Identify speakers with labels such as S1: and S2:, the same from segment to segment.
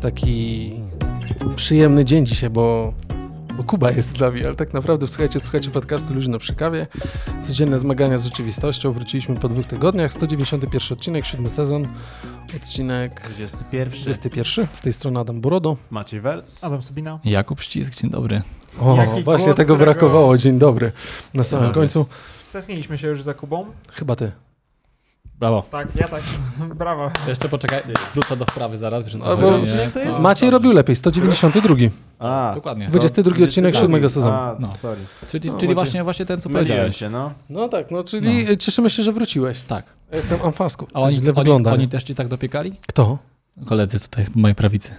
S1: taki przyjemny dzień dzisiaj, bo, bo Kuba jest z nami, ale tak naprawdę słuchajcie, słuchajcie podcastu Luźno przy kawie. Codzienne zmagania z rzeczywistością. Wróciliśmy po dwóch tygodniach. 191 odcinek, siódmy sezon. Odcinek
S2: 21.
S1: 21. Z tej strony Adam Burodo.
S2: Maciej Welc.
S3: Adam Sobina.
S4: Jakub Ścisk, dzień dobry.
S1: O, właśnie
S3: Jaki głos,
S1: tego
S3: którego-
S1: brakowało. Dzień dobry. Na samym
S4: Dobry.
S1: końcu.
S3: Stesniliśmy się już za Kubą.
S1: Chyba ty.
S4: Brawo.
S3: Tak, ja tak. Brawo.
S4: Jeszcze poczekaj, wrócę do wprawy zaraz. Wiesz,
S1: Albo- Maciej robił lepiej, 192.
S2: A,
S4: Dokładnie.
S1: 22 odcinek 7 sezonu.
S2: A,
S4: No.
S2: sorry.
S4: Czyli,
S1: No, Maciej.
S4: czyli właśnie, właśnie ten, co
S2: Myliłem
S4: powiedziałeś.
S2: się, no.
S1: No tak, no czyli no. cieszymy się, że wróciłeś.
S4: Tak.
S1: Ja Jestem amfasku.
S4: A oni,
S1: źle
S4: oni,
S1: wygląda.
S4: oni też ci tak dopiekali?
S1: Kto?
S4: Koledzy tutaj po mojej prawicy.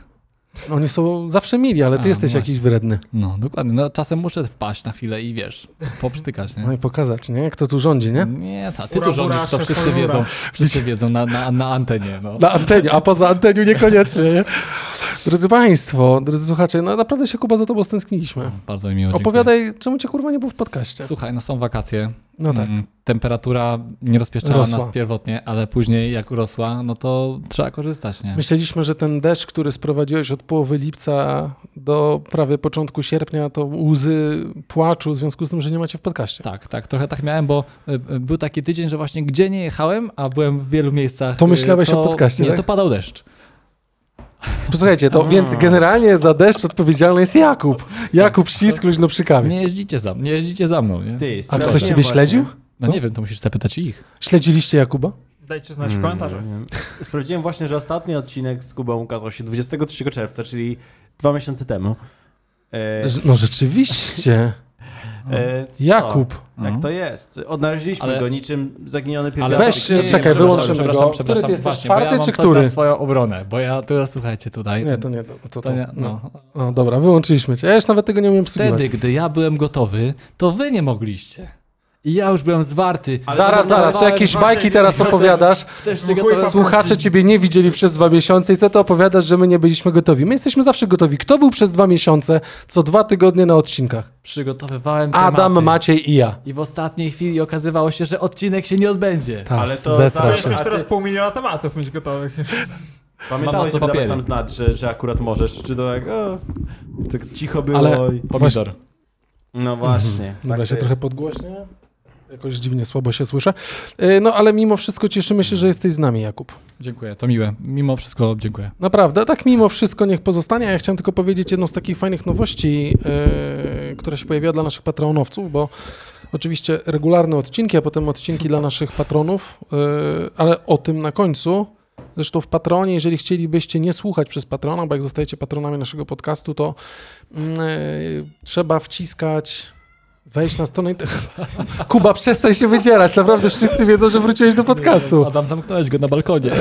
S1: Oni są zawsze mili, ale ty
S4: A,
S1: jesteś
S4: no
S1: jakiś wredny.
S4: No, dokładnie. No, czasem muszę wpaść na chwilę i wiesz, poprztykać,
S1: No
S4: nie?
S1: i pokazać, nie? Kto tu rządzi, nie?
S4: Nie, ta, ty
S3: Ura,
S4: tu
S3: ura,
S4: rządzisz, to wszyscy
S3: szefon, ura.
S4: wiedzą. Wszyscy wiedzą na, na, na antenie, no.
S1: Na anteniu, a poza anteniu niekoniecznie, nie? Drodzy Państwo, drodzy słuchacze, no naprawdę się Kuba za tobą stęskniliśmy.
S4: Bardzo mi miło, No, dziękuję.
S1: No. Opowiadaj, czemu cię kurwa nie było w podcaście?
S4: Słuchaj, no są wakacje.
S1: No tak.
S4: Mm, Temperatura nie rozpieszczała
S1: Rosła.
S4: nas pierwotnie, ale później jak urosła, no to trzeba korzystać, nie?
S1: Myśleliśmy, że ten deszcz, który sprowadziłeś od połowy lipca do prawie początku sierpnia, to łzy płaczu w związku z tym, że nie macie w podcaście.
S4: Tak, tak, trochę tak miałem, bo y, y, był taki tydzień, że właśnie gdzie nie jechałem, a byłem w wielu miejscach.
S1: To
S4: y,
S1: myślałeś o podcaście,
S4: Nie,
S1: tak?
S4: to padał deszcz.
S1: Posłuchajcie, to
S2: A.
S1: więc generalnie za deszcz odpowiedzialny jest Jakub. Jakub Ścisk, luźno przy kawie.
S4: Tak. Nie jeździcie za, nie jeździcie za mną, nie?
S2: Ty,
S1: A ktoś
S2: sprawdziłem
S1: ciebie
S2: właśnie.
S1: śledził?
S4: No
S1: co?
S4: nie wiem, to musisz zapytać ich.
S1: Śledziliście Jakuba?
S3: Dajcie
S2: Mm.
S3: znać w
S2: No tak.
S3: komentarzach.
S2: S- Sprawdziłem właśnie, że ostatni odcinek z Kubą ukazał się 23 czerwca, czyli dwa miesiące temu. E,
S1: Ż- No rzeczywiście.
S2: e, co?
S1: Jakub. No.
S2: Jak to jest? Odnaleźliśmy
S4: Ale-
S2: go niczym zaginiony
S1: Ale
S2: pierwiastek.
S1: weź,
S4: nie,
S1: e,
S4: nie,
S1: czekaj,
S4: przepraszam,
S1: wyłączymy
S4: przepraszam,
S1: go.
S4: Przepraszam,
S1: Który ty jesteś,
S4: właśnie, bo
S1: czwarty
S4: ja mam
S1: czy
S4: coś
S1: który?
S4: Na swoją obronę, bo ja teraz słuchajcie tutaj.
S1: Nie,
S4: ten-
S1: to nie, to, to,
S4: to nie, no.
S1: No dobra, wyłączyliśmy cię. Ja już nawet tego nie umiem obsługiwać.
S4: Wtedy, gdy ja byłem gotowy, to wy nie mogliście. I ja już byłem zwarty.
S2: Ale
S1: Zaraz, zaraz, to
S4: zaplanowałem
S1: jakieś
S3: właśnie
S1: bajki teraz
S3: dzisiaj
S1: opowiadasz.
S4: Też się
S3: Chuj,
S4: gotowałem-
S3: papu-
S1: Słuchacze ciebie nie widzieli przez dwa miesiące i co to opowiadasz, że my nie byliśmy gotowi? My jesteśmy zawsze gotowi. Kto był przez dwa miesiące, co dwa tygodnie na odcinkach?
S4: Przygotowywałem tematy.
S1: Adam, Maciej i ja.
S4: I w ostatniej chwili okazywało się, że odcinek się nie odbędzie.
S1: Ta,
S2: Ale to
S1: zesrał
S2: zaraz-
S1: się.
S3: Powinniśmy
S2: A
S3: teraz
S2: ty-
S3: pół miliona tematów mieć gotowych. E,
S4: Mam na
S2: Pamiętałeś,
S4: to
S2: że dawać
S4: papiery.
S2: nam znać, że, że akurat możesz, czy to jak... O, tak cicho było
S1: Ale- Mhm.
S2: i...
S4: Pomidor.
S2: No właśnie.
S1: Dobra,
S2: tak
S1: się
S2: to
S1: trochę
S2: jest.
S1: podgłośnię. Jakoś dziwnie słabo się słyszę. E, No ale mimo wszystko cieszymy się, że jesteś z nami, Jakub.
S4: Dziękuję, to miłe. Mimo wszystko dziękuję.
S1: Naprawdę, tak mimo wszystko niech pozostanie. A Ja chciałem tylko powiedzieć jedną z takich fajnych nowości, yy, która się pojawiła dla naszych patronowców, bo oczywiście regularne odcinki, a potem odcinki dla naszych patronów, yy, ale o tym na końcu. Zresztą w Patronie, jeżeli chcielibyście nie słuchać przez Patrona, bo jak zostajecie patronami naszego podcastu, to yy, trzeba wciskać, wejść na stronę... inter- Kuba, przestań się wydzierać, naprawdę wszyscy wiedzą, że wróciłeś do podcastu.
S4: Adam, zamknąłeś go na balkonie.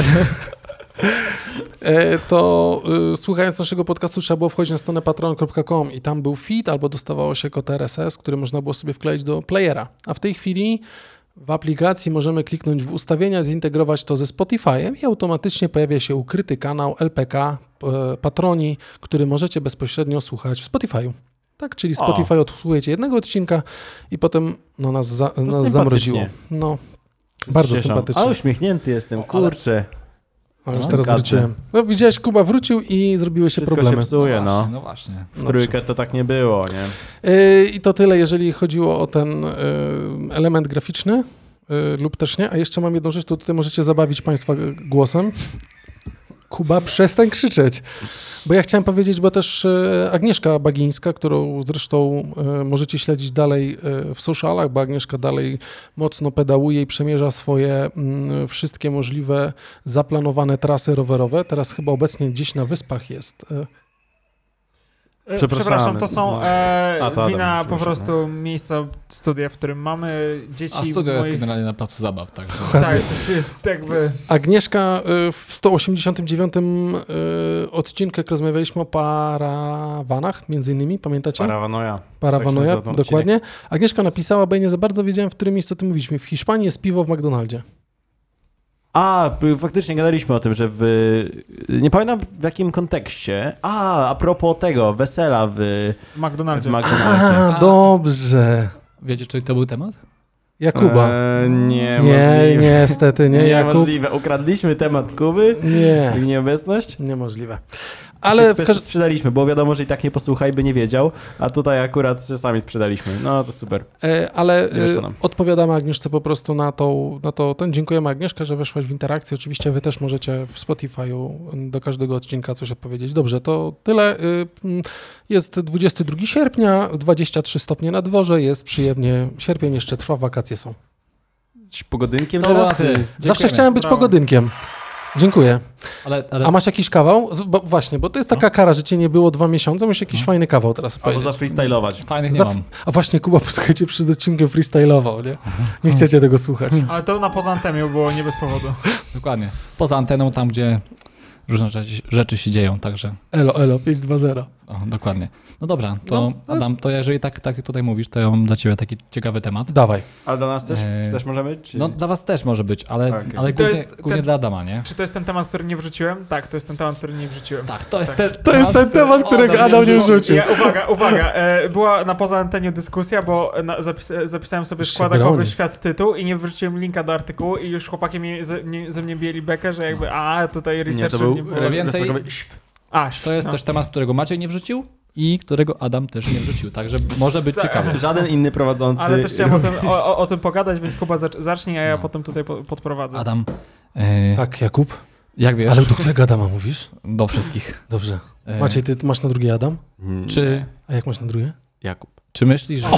S1: E, to y, słuchając naszego podcastu trzeba było wchodzić na stronę patron.com i tam był feed albo dostawało się kod RSS, który można było sobie wkleić do playera. A w tej chwili w aplikacji możemy kliknąć w ustawienia, zintegrować to ze Spotify'em i automatycznie pojawia się ukryty kanał LPK e, Patroni, który możecie bezpośrednio słuchać w Spotify'u. Tak, czyli
S2: O.
S1: Spotify odsłuchujecie jednego odcinka i potem no, nas, za, nas
S2: sympatycznie.
S1: zamroziło. No, bardzo
S2: Cieszam.
S1: sympatycznie.
S2: A uśmiechnięty jestem,
S4: ale-
S2: kurczę.
S1: A już
S4: No,
S1: teraz
S2: zgadza.
S1: wróciłem. No widziałeś, Kuba wrócił i zrobiły się
S2: Wszystko
S1: problemy.
S2: się psuje, no.
S4: No właśnie.
S2: W trójkę to tak nie było, nie?
S1: Yy, I to tyle, jeżeli chodziło o ten yy, element graficzny yy, lub też nie. A jeszcze mam jedną rzecz, to tutaj możecie zabawić Państwa g- głosem. Kuba, przestań krzyczeć. Bo ja chciałem powiedzieć, bo też yy, Agnieszka Bagińska, którą zresztą yy, możecie śledzić dalej yy, w socialach, bo Agnieszka dalej mocno pedałuje i przemierza swoje mm, wszystkie możliwe zaplanowane trasy rowerowe. Teraz chyba obecnie gdzieś na wyspach jest. Yy,
S3: E,
S2: Przepraszamy. No.
S3: Przepraszam, to są e,
S2: A, to Adam, no.
S3: wina po
S2: przepraszam.
S3: prostu miejsca studia, w którym mamy dzieci
S4: A studio jest
S3: moich...
S4: generalnie na placu zabaw, także.
S3: Tak, jest, jest jakby...
S1: Agnieszka y, w 189 y, odcinkach rozmawialiśmy o parawanach, między innymi, pamiętacie?
S2: Parawanoja. tak się
S1: Parawanoja,
S2: nazywa ten
S1: dokładnie. Agnieszka napisała, bo ja nie za bardzo wiedziałem, w którym miejscu o tym mówiliśmy. W Hiszpanii jest piwo w McDonaldzie.
S2: A, p- faktycznie gadaliśmy o tym, że w... Nie pamiętam w jakim kontekście. A, a propos tego, wesela w, w Tak,
S3: McDonaldzie.
S2: McDonald'sie.
S1: A, dobrze.
S4: Wiecie, czy to był temat?
S1: Jakuba.
S2: Eee, nie,
S1: Nie, niestety nie, Jakub.
S2: Niemożliwe. Ukradliśmy temat Kuby
S1: Nie,
S2: i nieobecność.
S1: niemożliwe. Ale w
S2: Sprze-
S1: każdym...
S2: sprzedaliśmy, bo wiadomo, że i tak nie posłuchaj, by nie wiedział, a tutaj akurat się sami sprzedaliśmy. No to super.
S1: E, Ale
S2: Nie wyszło
S1: e,
S2: nam.
S1: odpowiadamy Agnieszce po prostu na tą, na to, ten, dziękujemy Agnieszka, że weszłaś w interakcję, oczywiście wy też możecie w Spotify'u mm, do każdego odcinka coś odpowiedzieć. Dobrze, to tyle. Y, mm, Jest 22 sierpnia, 23 stopnie na dworze, jest przyjemnie, sierpień jeszcze trwa, wakacje są.
S2: Z pogodynkiem
S4: To
S2: teraz?
S4: łatwiej.
S2: czy-
S1: Zawsze chciałem być
S3: Brawo.
S1: pogodynkiem. Dziękuję.
S4: Ale, ale
S1: A masz jakiś kawał? Z- Bo, właśnie, bo to jest taka kara, że cię nie było dwa miesiące, musisz jakiś
S4: No.
S1: fajny kawał teraz
S2: Albo
S1: powiedzieć.
S2: zafreestylować.
S4: fajnych nie
S1: Za-
S4: mam.
S1: A właśnie Kuba, posłuchajcie, przed odcinkiem freestylował, nie? Nie chcecie tego słuchać.
S3: Ale to na poza antemią było nie bez powodu.
S4: Dokładnie. Poza anteną, tam gdzie różne rzeczy, rzeczy się dzieją, także.
S1: Elo, elo, 520.
S4: O, dokładnie. No dobra, to
S1: No, ale-
S4: Adam, to jeżeli tak, tak tutaj mówisz, to ja mam dla ciebie taki ciekawy temat.
S1: Dawaj.
S2: A dla nas też,
S4: Eee,
S2: też możemy? Czy...
S4: No dla was też może być, ale,
S2: Okej.
S4: ale
S3: To
S4: głównie,
S3: jest
S4: głównie
S3: ten-
S4: dla Adama, nie?
S3: Czy to jest ten temat, który nie wrzuciłem? Tak, to jest ten temat, który nie wrzuciłem.
S4: Tak, to jest
S3: Tak.
S4: ten
S1: To jest ten temat, którego
S4: Adam
S1: Adam nie
S4: wziął-
S1: wrzucił.
S3: Ja, uwaga, uwaga. E, była na poza anteniu dyskusja, bo e, na, zapis, zapisałem sobie
S1: Już się
S3: składakowy
S1: broni.
S3: świat tytuł i nie wrzuciłem linka do artykułu i już chłopaki mnie, ze, mnie, ze mnie bijeli bekę, że jakby a tutaj
S2: nie,
S3: research
S2: to był... e,
S3: było.
S4: Co więcej-
S3: A,
S4: To jest
S3: no.
S4: też temat, którego Maciej nie wrzucił i którego Adam też nie wrzucił, także może
S1: Tak.
S4: być ciekawy.
S2: Żaden inny prowadzący...
S3: Ale też chciałem o tym, o, o- o tym pogadać, więc Kuba zacz, zacznie, a ja
S4: No.
S3: potem tutaj po, podprowadzę.
S4: Adam, e,
S1: Tak, Jakub.
S4: jak wiesz,
S1: Ale do którego Adama mówisz?
S4: do wszystkich.
S1: Dobrze.
S4: E,
S1: Maciej, ty masz na drugie Adam?
S2: Mm,
S4: czy,
S1: A jak masz na drugie?
S2: Jakub.
S4: czy myślisz, że...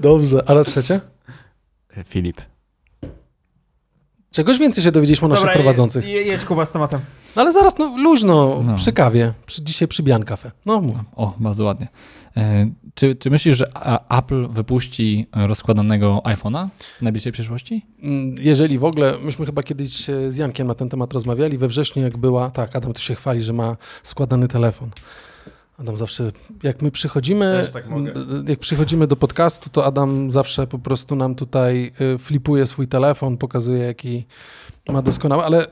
S1: Dobrze. A na trzecie?
S2: E, Filip.
S1: Czegoś więcej się dowiedzieliśmy o naszych
S3: Dobra,
S1: prowadzących.
S3: Je, jedź Kuba z tematem.
S1: No ale zaraz, no luźno,
S4: No.
S1: przy kawie. Przy, dzisiaj przy Bian Cafe. No mów.
S4: O, bardzo ładnie. E, Czy, czy myślisz, że A- Apple wypuści rozkładanego iPhone'a w najbliższej przyszłości?
S1: Mm, Jeżeli w ogóle, myśmy chyba kiedyś e, z Jankiem na ten temat rozmawiali, we wrześniu jak była, tak, Adam tu się chwali, że ma składany telefon. Adam zawsze, jak my przychodzimy,
S2: Też tak mogę.
S1: m, jak przychodzimy do podcastu, to Adam zawsze po prostu nam tutaj y, flipuje swój telefon, pokazuje jaki ma doskonały, ale y,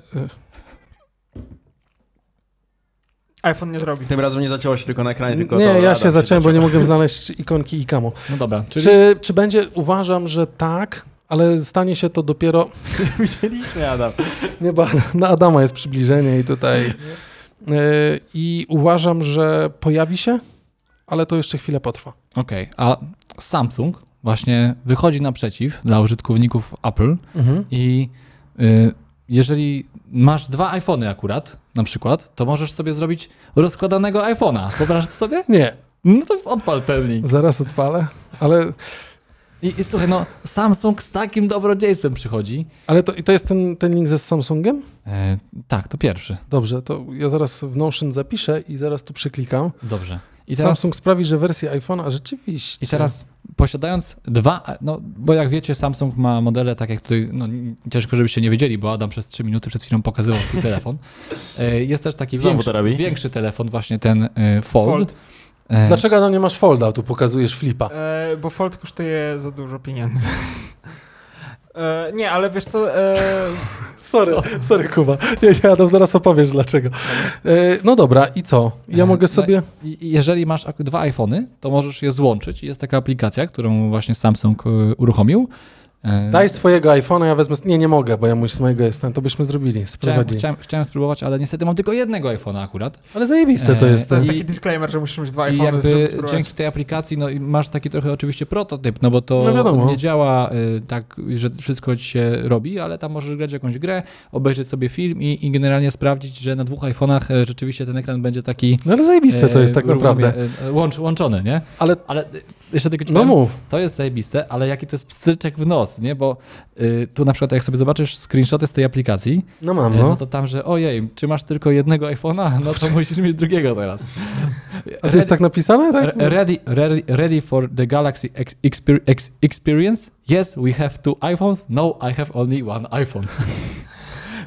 S3: iPhone nie zrobi.
S2: Tym razem nie zacięło się tylko na ekranie, tylko
S1: nie,
S2: to
S1: ja
S2: Adam
S1: się zacząłem, bo
S2: zaciął.
S1: nie mogłem znaleźć ikonki Ikamo.
S4: No dobra, czyli...
S1: Czy, czy będzie? Uważam, że tak, ale stanie się to dopiero
S2: Widzieliśmy, Adam.
S1: Nie, bo na Adama jest przybliżenie i tutaj. Yy, I uważam, że pojawi się, ale to jeszcze chwilę potrwa.
S4: Okej, a Samsung właśnie wychodzi naprzeciw dla użytkowników Apple i y, jeżeli masz dwa iPhony akurat, na przykład, to możesz sobie zrobić rozkładanego iPhone'a. Wyobrażasz sobie?
S1: Nie,
S4: No to odpal ten link.
S1: zaraz odpalę, ale,
S4: I, I słuchaj, no Samsung z takim dobrodziejstwem przychodzi.
S1: ale to, i to jest ten, ten link ze Samsungiem?
S4: E, tak, to pierwszy.
S1: Dobrze, to ja zaraz w Notion zapiszę i zaraz tu przeklikam.
S4: Dobrze. I teraz,
S1: Samsung sprawi, że wersja iPhone'a rzeczywiście.
S4: I teraz posiadając dwa, no bo jak wiecie, Samsung ma modele, tak jak tutaj, no n- ciężko żebyście nie wiedzieli, bo Adam przez 3 minuty przed chwilą pokazywał swój telefon. E, Jest też taki
S2: Znowu
S4: większy,
S2: to robi.
S4: większy telefon, właśnie ten e, Fold.
S3: Fold.
S4: E,
S2: Znaczy,
S1: Dlaczego Adam nie masz folda? Tu pokazujesz flipa.
S3: E, bo Fold kosztuje za dużo pieniędzy. E, nie, ale wiesz co, e,
S1: Sorry, sorry Kuba. Nie, nie, Adam, zaraz opowiesz dlaczego. Yy, no dobra, i co? Ja
S4: E, no
S1: mogę sobie...
S4: i- i Jeżeli masz ak- dwa iPhony, to możesz je złączyć. Jest taka aplikacja, którą właśnie Samsung e, uruchomił. E,
S1: Daj swojego iPhone'a, ja wezmę. Nie, nie mogę, bo ja mój z mojego jest ten. To byśmy zrobili,
S4: chciałem,
S1: sprowadzili.
S4: chciałem, chciałem spróbować, ale niestety mam tylko jednego iPhone'a akurat.
S1: Ale zajebiste to
S4: E,
S1: jest. tak- Ten.
S3: to jest
S4: I-
S3: taki disclaimer, że musisz mieć dwa
S4: I
S3: iPhone'y, żeby
S4: jakby
S3: spróbować.
S4: dzięki tej aplikacji no, i masz taki trochę oczywiście prototyp, no bo to
S1: No wiadomo.
S4: nie działa y, tak, że wszystko ci się robi, ale tam możesz grać w jakąś grę, obejrzeć sobie film i, i generalnie sprawdzić, że na dwóch iPhone'ach e, rzeczywiście ten ekran będzie taki...
S1: No ale zajebiste to
S4: e,
S1: jest tak
S4: uruchomie-
S1: naprawdę.
S4: e, Łącz, łączony, nie?
S1: Ale-
S4: ale e, jeszcze tylko ci
S1: No
S4: powiem,
S1: mów.
S4: to jest zajebiste, ale jaki to jest pstryczek w nos, nie? Bo y, tu na przykład jak sobie zobaczysz screenshoty z tej aplikacji,
S1: No mam,
S4: E, No
S1: no.
S4: to tam, że ojej, czy masz tylko jednego iPhone'a? No to musisz mieć drugiego teraz.
S1: A
S4: e,
S1: to jest tak napisane, tak?
S4: Re- Ready, ready, ready for the Galaxy ex- exper- ex- Experience? Yes, we have two iPhones. No, I have only one iPhone.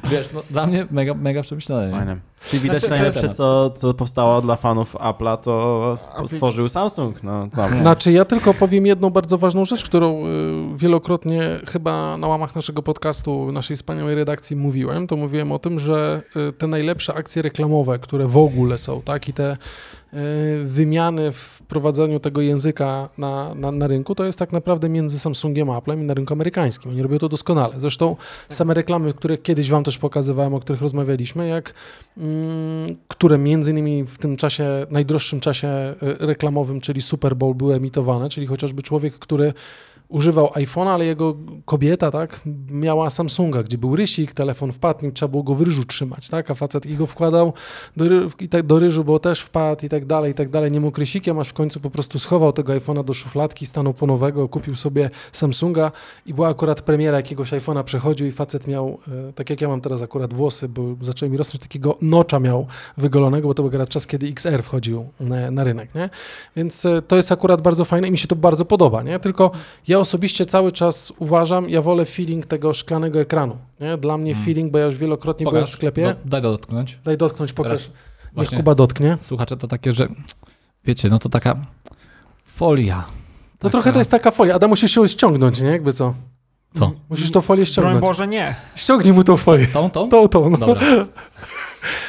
S4: Wiesz, no, dla mnie mega, mega przemyślane. nie?
S2: Fajne. E, Czyli widać
S3: Znaczy, to
S2: najlepsze,
S4: jest-
S2: co, co powstało dla fanów Apple'a, to
S3: Apli-
S2: stworzył Samsung. No, co?
S1: Znaczy, ja tylko powiem jedną bardzo ważną rzecz, którą y, wielokrotnie chyba na łamach naszego podcastu, naszej wspaniałej redakcji mówiłem. To mówiłem o tym, że y, te najlepsze akcje reklamowe, które w ogóle są, tak, i te e, wymiany w prowadzeniu tego języka na, na, na rynku to jest tak naprawdę między Samsungiem a Applem i na rynku amerykańskim. Oni robią to doskonale. Zresztą same reklamy, które kiedyś wam też pokazywałem, o których rozmawialiśmy, jak mm, które między innymi w tym czasie, najdroższym czasie e, reklamowym, czyli Super Bowl były emitowane, czyli chociażby człowiek, który używał iPhone'a, ale jego kobieta, tak, miała Samsunga, gdzie był rysik, telefon wpadł, nie trzeba było go w ryżu trzymać, tak, a facet i go wkładał do, ry- i tak, do ryżu, bo też wpadł i tak dalej, i tak dalej, nie mógł rysikiem, aż w końcu po prostu schował tego iPhone'a do szufladki, stanął po nowego, kupił sobie Samsunga i była akurat premiera jakiegoś iPhone'a, przechodził i facet miał, e, tak jak ja mam teraz akurat włosy, bo zaczęły mi rosnąć, takiego nocza miał wygolonego, bo to był akurat czas, kiedy XR wchodził na, na rynek, nie, więc e, to jest akurat bardzo fajne i mi się to bardzo podoba, nie, tylko ja osobiście cały czas uważam, ja wolę feeling tego szklanego ekranu. Nie? Dla mnie
S4: Mm.
S1: feeling, bo ja już wielokrotnie byłem w sklepie.
S4: Do, daj dotknąć.
S1: Daj dotknąć, pokaż.
S4: Teraz
S1: Niech
S4: Właśnie,
S1: Kuba dotknie. No
S4: słuchacze to takie, że wiecie, no to taka folia.
S1: To trochę to jest taka folia. Adam musisz się ściągnąć, nie? Jakby co?
S4: Co?
S1: Musisz tą folię
S3: Broń
S1: ściągnąć.
S3: Boże, nie.
S1: Ściągnij mu tą folię.
S4: Tą, tą?
S1: Tą, tą. No.
S4: Dobra.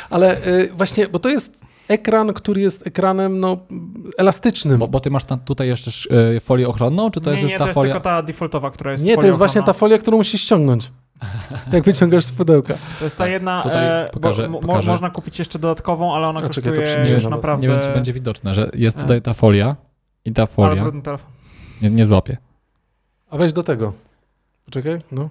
S1: Ale y, właśnie, bo to jest ekran, który jest ekranem no, elastycznym.
S4: Bo, bo ty masz tam, tutaj jeszcze sz- y, folię ochronną, czy to jest
S3: nie,
S4: już
S3: nie,
S4: ta
S3: to jest
S4: folia?
S3: tylko ta defaultowa, która jest no.
S1: nie, to
S3: folią
S1: jest właśnie ta
S3: ochronna.
S1: folia, którą musisz ściągnąć. Jak wyciągasz z pudełka.
S3: To jest ta jedna,
S4: tak, Tutaj
S3: e,
S4: pokażę-
S3: bo, mo-
S4: pokażę.
S3: Można kupić jeszcze dodatkową, ale ona
S1: A, czekaj, to
S3: kosztuje
S1: przybliżę
S3: już
S1: nawet.
S3: naprawdę...
S4: Nie wiem, czy będzie widoczne, że jest
S3: E.
S4: tutaj ta folia i ta
S3: Ale
S4: folia.
S3: brudny telefon.
S4: Nie, nie złapie.
S1: A weź do tego. Poczekaj, no.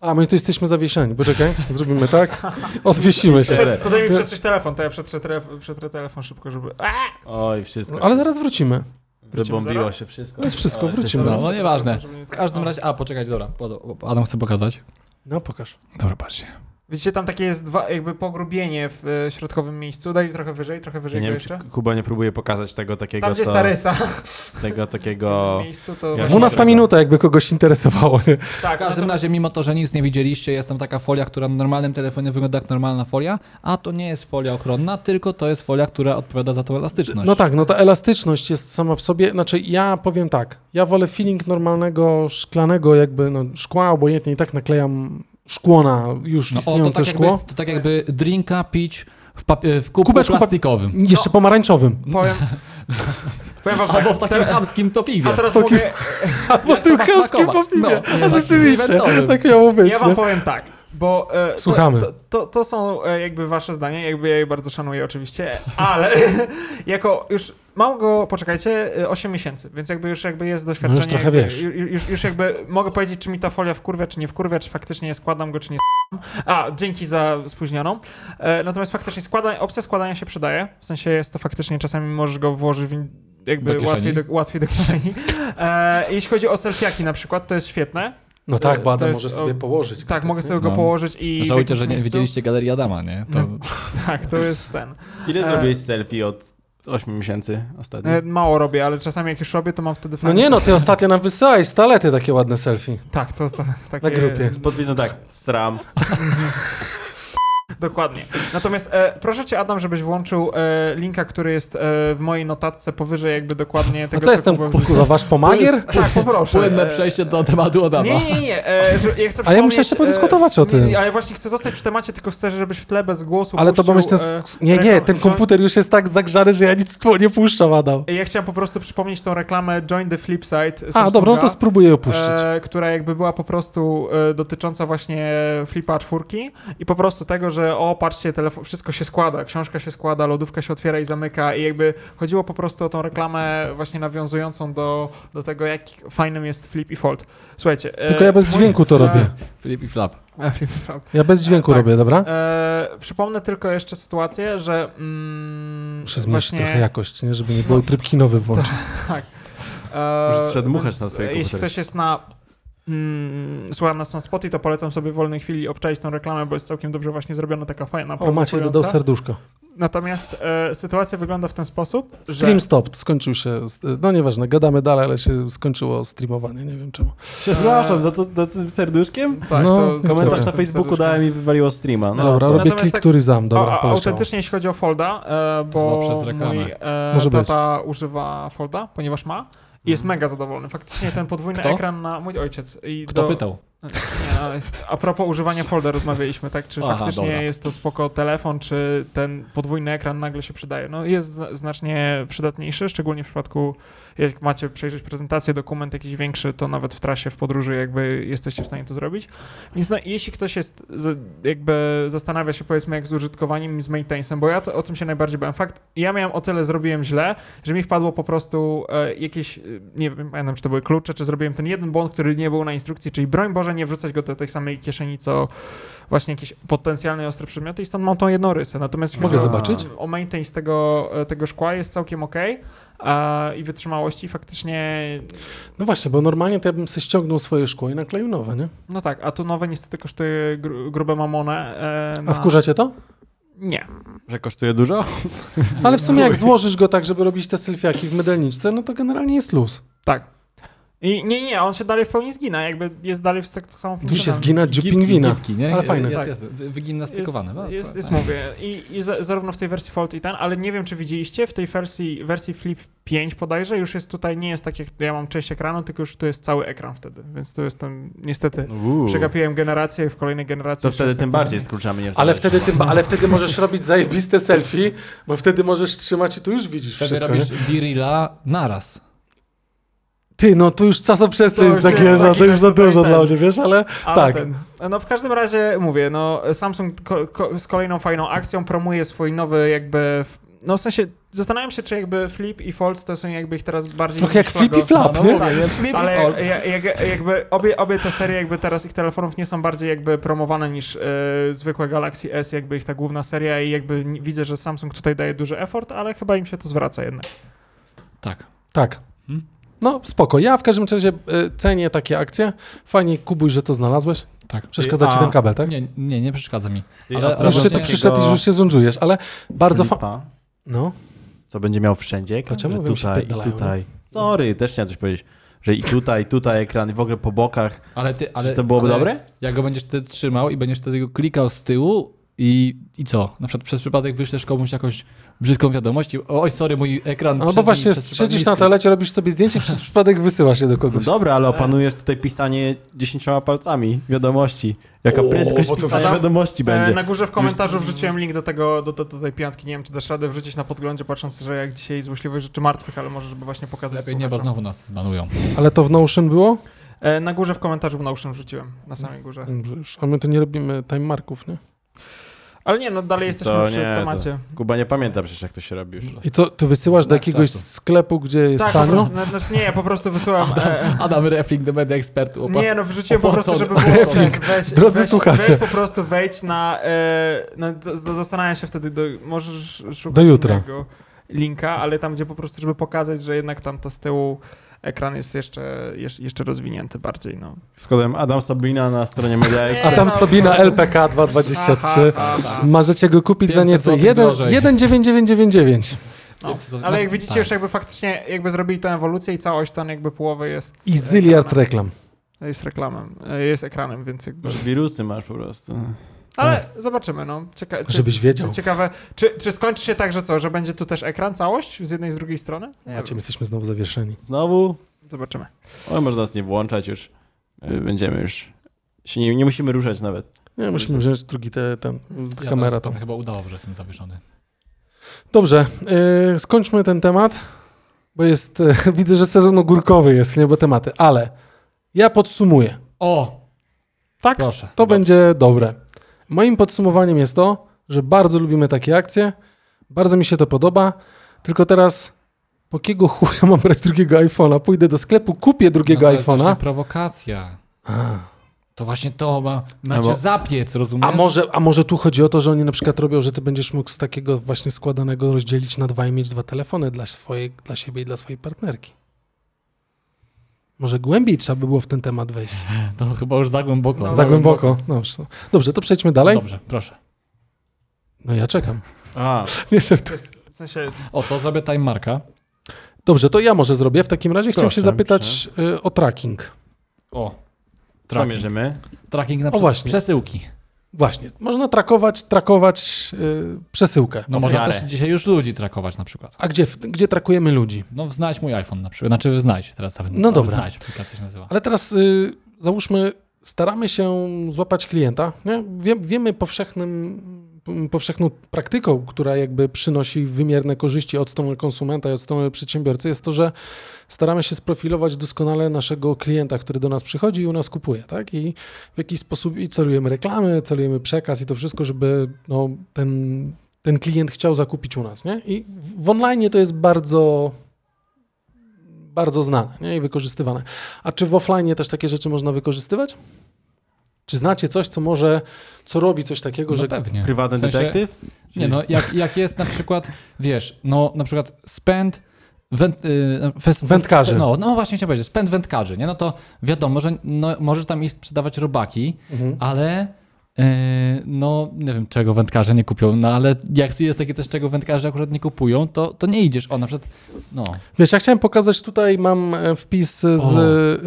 S1: A, my tu jesteśmy zawieszeni. Poczekaj, zrobimy tak. Odwiesimy się.
S3: Przed, to daj mi przetrzeć telefon, to ja przetrzę, tref, przetrzę telefon szybko, żeby... A!
S2: Oj, wszystko.
S1: No, ale zaraz wrócimy.
S3: wybombiło
S2: Wybombiło się wszystko.
S1: To jest wszystko,
S2: Ale
S1: wrócimy.
S2: jesteś-
S4: No, no nieważne.
S3: Żeby nie-
S4: W każdym
S3: O.
S4: razie, a poczekać, dobra, bo- bo Adam chce pokazać.
S1: No, pokaż.
S4: Dobra, patrzcie.
S3: Widzicie, tam takie jest dwa, jakby pogrubienie w e, środkowym miejscu. Daj trochę wyżej, trochę
S2: Ja
S3: wyżej
S2: nie
S3: go
S2: wiem,
S3: jeszcze.
S2: czy Kuba nie próbuje pokazać tego takiego,
S3: Tam, gdzie
S2: co,
S3: jest ta rysa
S2: tego
S3: w
S2: takiego...
S3: tym miejscu, to...
S2: Ja-
S3: właśnie-
S1: 12 minuta, jakby kogoś interesowało. Nie?
S3: Tak,
S4: W każdym
S3: no to-
S4: razie, mimo to, że nic nie widzieliście, jest tam taka folia, która na normalnym telefonie wygląda jak normalna folia, a to nie jest folia ochronna, tylko to jest folia, która odpowiada za tą elastyczność.
S1: No tak, no ta elastyczność jest sama w sobie. Znaczy, ja powiem tak. Ja wolę feeling normalnego, szklanego, jakby no, szkła, obojętnie i tak naklejam szkło na już
S4: No, o,
S1: istniejące
S4: to tak,
S1: szkło.
S4: Jakby, to tak jakby drinka pić w, papie- w kubku
S1: Kubeczku pap-
S4: plastikowym.
S3: No.
S1: Jeszcze pomarańczowym.
S3: Powiem... Powiem wam
S4: Albo
S3: tak,
S4: w takim chamskim
S3: a
S4: topiwie.
S3: teraz
S1: Taki-
S3: mogę...
S1: Bo tym
S4: to
S1: chełskim
S4: smakować?
S1: popiwie.
S4: No, nie,
S1: A
S4: takim
S1: rzeczywiście,
S4: eventowym.
S1: tak miało być.
S3: Ja
S1: nie?
S3: wam powiem tak, bo... e,
S1: Słuchamy.
S3: To, to, to są e, jakby wasze zdanie, jakby ja je bardzo szanuję oczywiście, ale jako już mam go, poczekajcie, e, 8 miesięcy, więc jakby już jakby jest doświadczenie.
S1: No już trochę
S3: jakby,
S1: wiesz.
S3: ju- Już, już jakby mogę powiedzieć, czy mi ta folia wkurwia, czy nie wkurwia, czy faktycznie składam go, czy nie składam. A, dzięki za spóźnioną. E, natomiast faktycznie składa, opcja składania się przydaje, w sensie jest to faktycznie, czasami możesz go włożyć w in,
S4: Do
S3: jakby
S4: kieszeni.
S3: łatwiej do, łatwiej do kieszeni. E, jeśli chodzi o selfiaki na przykład, to jest świetne.
S1: No tak,
S3: To
S1: Bada
S3: jest,
S1: może
S3: o,
S1: sobie położyć.
S3: Tak, mogę sobie go
S4: No.
S3: położyć i... w
S4: Żałujcie,
S3: jakimś
S4: że nie
S3: miejscu.
S4: widzieliście galerii Adama, nie? To
S3: Tak, to jest ten.
S2: Ile
S3: E,
S2: zrobiłeś selfie od 8 miesięcy ostatnio?
S3: E, Mało robię, ale czasami jak już robię, to mam wtedy
S1: No
S3: fajne-
S1: nie no, ty ostatnio nam wysyłałeś stalety takie ładne selfie.
S3: Tak, to jest ta- takie...
S1: Na grupie.
S2: Z podpisem tak, sram.
S3: Dokładnie. Natomiast e, proszę cię, Adam, żebyś włączył e, linka, który jest e, w mojej notatce powyżej jakby dokładnie
S1: A
S3: tego,
S1: co jestem,
S3: próbowałem
S1: kurwa, wasz pomagier?
S3: wrzucić. Tak, poproszę.
S4: płynne
S3: e,
S4: przejście do tematu Adama.
S3: Nie, nie, nie. E, że, ja chcę
S1: A ja muszę
S3: wspomnieć,
S1: jeszcze podyskutować o
S3: e,
S1: tym.
S3: nie, A ja właśnie chcę zostać przy temacie, tylko chcę, żebyś w tle bez głosu
S1: Ale to
S3: puścił,
S1: pomyśl ten...
S3: e,
S1: sk- Nie, nie,
S3: reklam-
S1: ten
S3: join-
S1: komputer już jest tak zagrzany, że ja nic tu nie puszczam, Adam.
S3: Ja chciałem po prostu przypomnieć tą reklamę Join the Flipside Samsunga.
S1: A, dobra, no to spróbuję opuścić.
S3: E, która jakby była po prostu e, dotycząca właśnie flipa czwórki i po prostu tego, że o, patrzcie, telefon, wszystko się składa, książka się składa, lodówka się otwiera i zamyka i jakby chodziło po prostu o tą reklamę właśnie nawiązującą do, do tego, jak fajnym jest flip i fold. Słuchajcie. e,
S1: Tylko ja bez dźwięku to
S3: e,
S1: robię.
S4: Flip i flap.
S3: E, flip i flop.
S1: Ja bez dźwięku
S3: tak.
S1: robię, dobra?
S3: E, przypomnę tylko jeszcze sytuację, że mm,
S1: Muszę zmienić trochę jakość, nie? Żeby nie było tryb kinowy włączyć.
S3: Eee,
S2: Może trzeba dmuchać
S3: tak. więc
S2: na twoje
S3: Jeśli
S2: komputery.
S3: ktoś jest na. Mm, słucha nas na Spotify, to polecam sobie w wolnej chwili obczaić tą reklamę, bo jest całkiem dobrze właśnie zrobiona taka fajna.
S1: O, Maciej dodał
S3: prowokująca.
S1: serduszko.
S3: Natomiast e, sytuacja wygląda w ten sposób, że.
S1: Stream stopped, skończył się... No nieważne, gadamy dalej, ale się skończyło streamowanie, nie wiem czemu.
S2: Przepraszam za to za tym serduszkiem.
S3: Tak,
S1: No,
S3: to z-
S2: Komentarz na
S3: tym
S2: Facebooku
S3: serduszkiem.
S2: dałem i wywaliło streama. No,
S1: Dobra,
S2: to-
S1: robię
S3: Natomiast tak-
S1: klikturyzam,
S3: O,
S1: dobra,
S3: a,
S1: poleciało.
S3: autentycznie jeśli chodzi o Folda, e, bo
S4: To było przez reklamę.
S3: mój e,
S1: Może być.
S3: tata używa Folda, ponieważ ma i jest mega zadowolony. Faktycznie ten podwójny
S4: Kto?
S3: ekran na mój ojciec. I
S4: Kto
S3: do,
S4: pytał?
S3: Nie, ale a propos używania folder rozmawialiśmy, tak? Czy
S4: Aha,
S3: faktycznie
S4: dobra.
S3: jest to spoko telefon, czy ten podwójny ekran nagle się przydaje? No jest zna- znacznie przydatniejszy, szczególnie w przypadku, jak macie przejrzeć prezentację, dokument jakiś większy, to nawet w trasie, w podróży jakby jesteście w stanie to zrobić. Więc no, jeśli ktoś jest, z- jakby zastanawia się powiedzmy jak z użytkowaniem i z maintenancem, bo ja to, o tym się najbardziej bałem. Fakt, ja miałem o tyle zrobiłem źle, że mi wpadło po prostu e, jakieś, e, nie wiem, pamiętam czy to były klucze, czy zrobiłem ten jeden błąd, który nie był na instrukcji, czyli broń Boże nie wrzucać go do tej samej kieszeni, co właśnie jakieś potencjalne ostre przedmioty i stąd mam tą jedną rysę. Natomiast jeśli
S1: Mogę
S3: chodzi o-
S1: zobaczyć?
S3: O maintenance tego, e, tego szkła jest całkiem okej e, i wytrzymałości faktycznie,
S1: No właśnie, bo normalnie to ja bym sobie ściągnął swoje szkło i nakleił nowe, nie?
S3: no tak, a tu nowe niestety kosztuje gru, grube mamonę. e,
S1: A
S3: na-
S1: wkurzacie to?
S3: Nie.
S2: Że kosztuje dużo?
S1: Ale w sumie jak złożysz go tak, żeby robić te selfiaki w mydelniczce, no to generalnie jest luz.
S3: Tak. I nie, nie, on się dalej w pełni zgina, jakby jest dalej w tak samą
S1: Tu się
S3: funkcjonalną-
S1: zgina dziób pingwina.
S4: Gipki, nie?
S1: Ale fajne.
S4: Jest,
S3: Tak.
S4: jest, wy- wygimnastykowane.
S3: Jest,
S4: no,
S1: tak.
S3: jest, jest
S4: fajne.
S3: mówię. I, i za, zarówno w tej wersji Fold i ten, ale nie wiem, czy widzieliście, w tej wersji, wersji Flip 5 bodajże już jest tutaj, nie jest tak jak ja mam część ekranu, tylko już tu jest cały ekran wtedy, więc tu jestem, niestety,
S1: No
S2: Uuu.
S3: przegapiłem generację i w kolejnej generacji...
S2: No. To
S3: już
S2: wtedy
S3: jest
S2: tym
S3: tak
S2: bardziej z kluczami nie
S1: Ale
S2: wstajesz.
S1: wtedy, tym, ale wtedy możesz robić zajebiste selfie, bo wtedy możesz trzymać i tu już widzisz
S4: Wtedy
S1: wszystko.
S4: robisz
S1: nie?
S4: birilla naraz.
S1: Ty, no tu już czasoprzestrzeń
S3: To
S1: jest
S3: już jest
S1: zagięta, to
S3: zaginę
S1: już za
S3: tutaj
S1: dużo
S3: ten.
S1: dla mnie, wiesz, ale
S3: Ale
S1: tak.
S3: ten- no w każdym razie mówię, no Samsung ko, ko, z kolejną fajną akcją promuje swój nowy jakby, f- no w sensie zastanawiam się, czy jakby Flip i Fold to są jakby ich teraz bardziej...
S1: Trochę jak
S3: niszlago-
S1: flip i flap,
S4: No, no
S1: nie?
S4: mówię, więc flip
S3: Ale
S4: all.
S3: jak, jak, jakby obie, obie te serie jakby teraz ich telefonów nie są bardziej jakby promowane niż e, zwykłe Galaxy S, jakby ich ta główna seria i jakby n- widzę, że Samsung tutaj daje duży effort, ale chyba im się to zwraca jednak.
S4: Tak.
S1: Tak.
S3: Hmm?
S4: Mhm.
S1: No spoko. Ja w każdym razie y, cenię takie akcje. Fajnie, Kubuj, że to znalazłeś.
S4: Tak.
S1: Przeszkadza ci
S2: A,
S1: ten kabel, tak?
S4: Nie, nie, nie przeszkadza mi.
S2: Ty,
S4: ale
S2: a
S4: już
S2: propos
S1: Już się tu
S4: takiego-
S1: przyszedł i już się zundżujesz, ale bardzo fa...
S2: Filipa,
S1: No,
S2: Co będzie miał wszędzie?
S1: To czemu
S2: Że
S1: mówią, że
S2: tutaj i
S1: pierdalają?
S2: tutaj. Sorry, też chciałem coś powiedzieć. Że i tutaj, i tutaj ekran, i w ogóle po bokach.
S4: Ale ty, ale,
S2: Czy to byłoby
S4: ale
S2: dobre?
S4: Jak go będziesz wtedy trzymał i będziesz wtedy go klikał z tyłu i, i co? Na przykład przez przypadek wyślesz komuś jakąś brzydką wiadomość i oj, sorry, mój ekran
S1: albo
S4: przez-
S1: No, właśnie
S4: przez przypadek
S1: siedzisz
S4: niski.
S1: na toalecie, robisz sobie zdjęcie, przez przypadek wysyłasz je do
S2: No
S1: kogoś.
S2: dobra, ale opanujesz tutaj pisanie dziesięcioma palcami wiadomości. Jaka prędkość
S1: bo to
S2: pisania
S3: fajna-
S2: wiadomości
S3: E,
S2: będzie.
S3: na górze w komentarzu wrzuciłem link do tego, do, do, do tej piątki, nie wiem czy dasz radę wrzucić na podglądzie, patrząc, że jak dzisiaj złośliwych rzeczy martwych, ale może żeby właśnie pokazać
S4: Lepiej nie, bo
S3: słuchaczom.
S4: znowu nas zbanują.
S1: Ale to w Notion było?
S3: E, Na górze w komentarzu w Notion wrzuciłem, na samej górze.
S1: Dobrze, A my tu nie robimy time marków, nie?
S3: Ale nie, no dalej jesteśmy
S2: To
S3: przy
S2: nie, to-
S3: temacie.
S2: Kuba nie pamięta przecież jak to się robi już.
S1: I to ty wysyłasz do
S4: Znak
S1: jakiegoś
S4: czasu.
S1: sklepu, gdzie jest
S3: Tak, po
S1: tanio?
S3: prostu, no, znaczy nie, ja po prostu wysyłam... E,
S4: Adam Refling do media ekspertu. Opłat...
S3: Nie, no wrzuciłem po prostu, żeby
S4: opłacony.
S3: było
S1: Refling.
S3: tak, weź,
S1: Drodzy
S3: weź,
S1: słuchacze.
S3: Weź po prostu wejdź na, e, na z- z- zastanawiam się wtedy, do, możesz szukać
S1: Do jutra.
S3: innego linka, ale tam gdzie po prostu, żeby pokazać, że jednak tam to z tyłu ekran jest jeszcze, jesz- jeszcze rozwinięty bardziej, no.
S2: Z kodem Adam Sabina na stronie Media Expert.
S1: A tam
S3: Nie, no,
S1: sobie na
S3: po prostu-
S1: LPK 223.
S3: Aha, aha.
S1: Możecie go kupić za
S4: 500
S1: nieco
S4: złotych
S1: jeden-
S4: drożej.
S1: 1,9999.
S3: No.
S4: Co-
S3: Ale jak
S4: no,
S3: widzicie
S4: tak.
S3: już jakby faktycznie jakby zrobili tę ewolucję i całość ten jakby połowy jest
S1: I zyliard
S3: ekranem.
S1: reklam.
S3: jest reklamem, e, jest ekranem, więc jakby...
S2: Masz wirusy masz po prostu.
S3: Ale zobaczymy, no. Cieka- czy-
S1: Tak. Żebyś
S3: czy-
S1: wiedział.
S3: Czy, ciekawe, czy, czy skończy się tak, że co, że będzie tu też ekran całość z jednej i z drugiej strony? Nie
S1: Macie,
S3: wiem.
S1: my jesteśmy znowu zawieszeni.
S2: Znowu?
S3: Zobaczymy.
S2: O, można nas nie włączać już. Y, Będziemy już. Się nie, nie musimy ruszać nawet.
S1: Nie, musimy wziąć drugi te, ten,
S4: Ja tak.
S1: kamera
S4: teraz
S1: tam.
S4: chyba udało, że jestem zawieszony.
S1: Dobrze, yy, skończmy ten temat, bo jest, yy, widzę, że sezon ogórkowy jest, nie, bo tematy, ale ja podsumuję.
S4: O!
S1: Tak?
S4: Proszę.
S1: To będzie dobre. Moim podsumowaniem jest to, że bardzo lubimy takie akcje, bardzo mi się to podoba, tylko teraz po kiego chuja mam brać drugiego iPhone'a? Pójdę do sklepu, kupię drugiego
S4: No, to jest
S1: iPhone'a.
S4: właśnie prowokacja.
S1: A.
S4: To właśnie to ma, macie
S2: No bo-
S4: zapiec, rozumiesz?
S1: A może, a może tu chodzi o to, że oni na przykład robią, że ty będziesz mógł z takiego właśnie składanego rozdzielić na dwa i mieć dwa telefony dla, swojej, dla siebie i dla swojej partnerki. Może głębiej trzeba by było w ten temat wejść.
S4: To chyba już za głęboko.
S3: No,
S1: Za głęboko. Dobrze, Dobrze to przejdźmy dalej.
S4: Dobrze, proszę.
S1: No ja czekam.
S2: A,
S1: Nie żartuję.
S3: W sensie,
S4: O, to zrobię time marka.
S1: Dobrze, to ja może zrobię. W takim razie chciałem
S2: Proszę,
S1: się zapytać y, o tracking.
S4: O.
S2: co
S4: Tracking.
S2: mierzymy?
S4: Tracking na
S1: O,
S4: przykład
S1: właśnie.
S4: przesyłki.
S1: Właśnie, można trakować, trakować y, przesyłkę.
S4: No
S2: Ofiarę.
S4: można też dzisiaj już ludzi trakować na przykład.
S1: A gdzie, gdzie trakujemy ludzi?
S4: No znajdź mój iPhone na przykład. Znaczy znajdź teraz. Tam,
S1: No dobra.
S4: Znajdź, aplikacja się nazywa.
S1: Ale teraz y, załóżmy, staramy się złapać klienta. Nie? Wie, wiemy powszechnym, powszechną praktyką, która jakby przynosi wymierne korzyści od strony konsumenta i od strony przedsiębiorcy, jest to, że staramy się sprofilować doskonale naszego klienta, który do nas przychodzi i u nas kupuje. Tak? I w jakiś sposób i celujemy reklamy, celujemy przekaz i to wszystko, żeby no, ten, ten klient chciał zakupić u nas. Nie? I w- w online to jest bardzo bardzo znane nie? i wykorzystywane. A czy w offline też takie rzeczy można wykorzystywać? Czy znacie coś, co może, co robi coś takiego,
S4: No
S1: że
S4: pewnie.
S2: Prywatny
S4: W sensie-
S2: detektyw?
S4: Nie no, jak, jak jest na przykład, wiesz, no na przykład spęd węd, y, fes-
S1: Wędkarzy.
S4: No, no właśnie chciałem powiedzieć, spęd wędkarzy, nie? No to wiadomo, że no, możesz tam iść sprzedawać robaki,
S1: Mhm.
S4: ale y, no nie wiem, czego wędkarze nie kupią, no ale jak jest takie też, czego wędkarze akurat nie kupują, to, to nie idziesz. O, na przykład, no.
S1: Wiesz, ja chciałem pokazać tutaj, mam e, wpis z,
S4: O.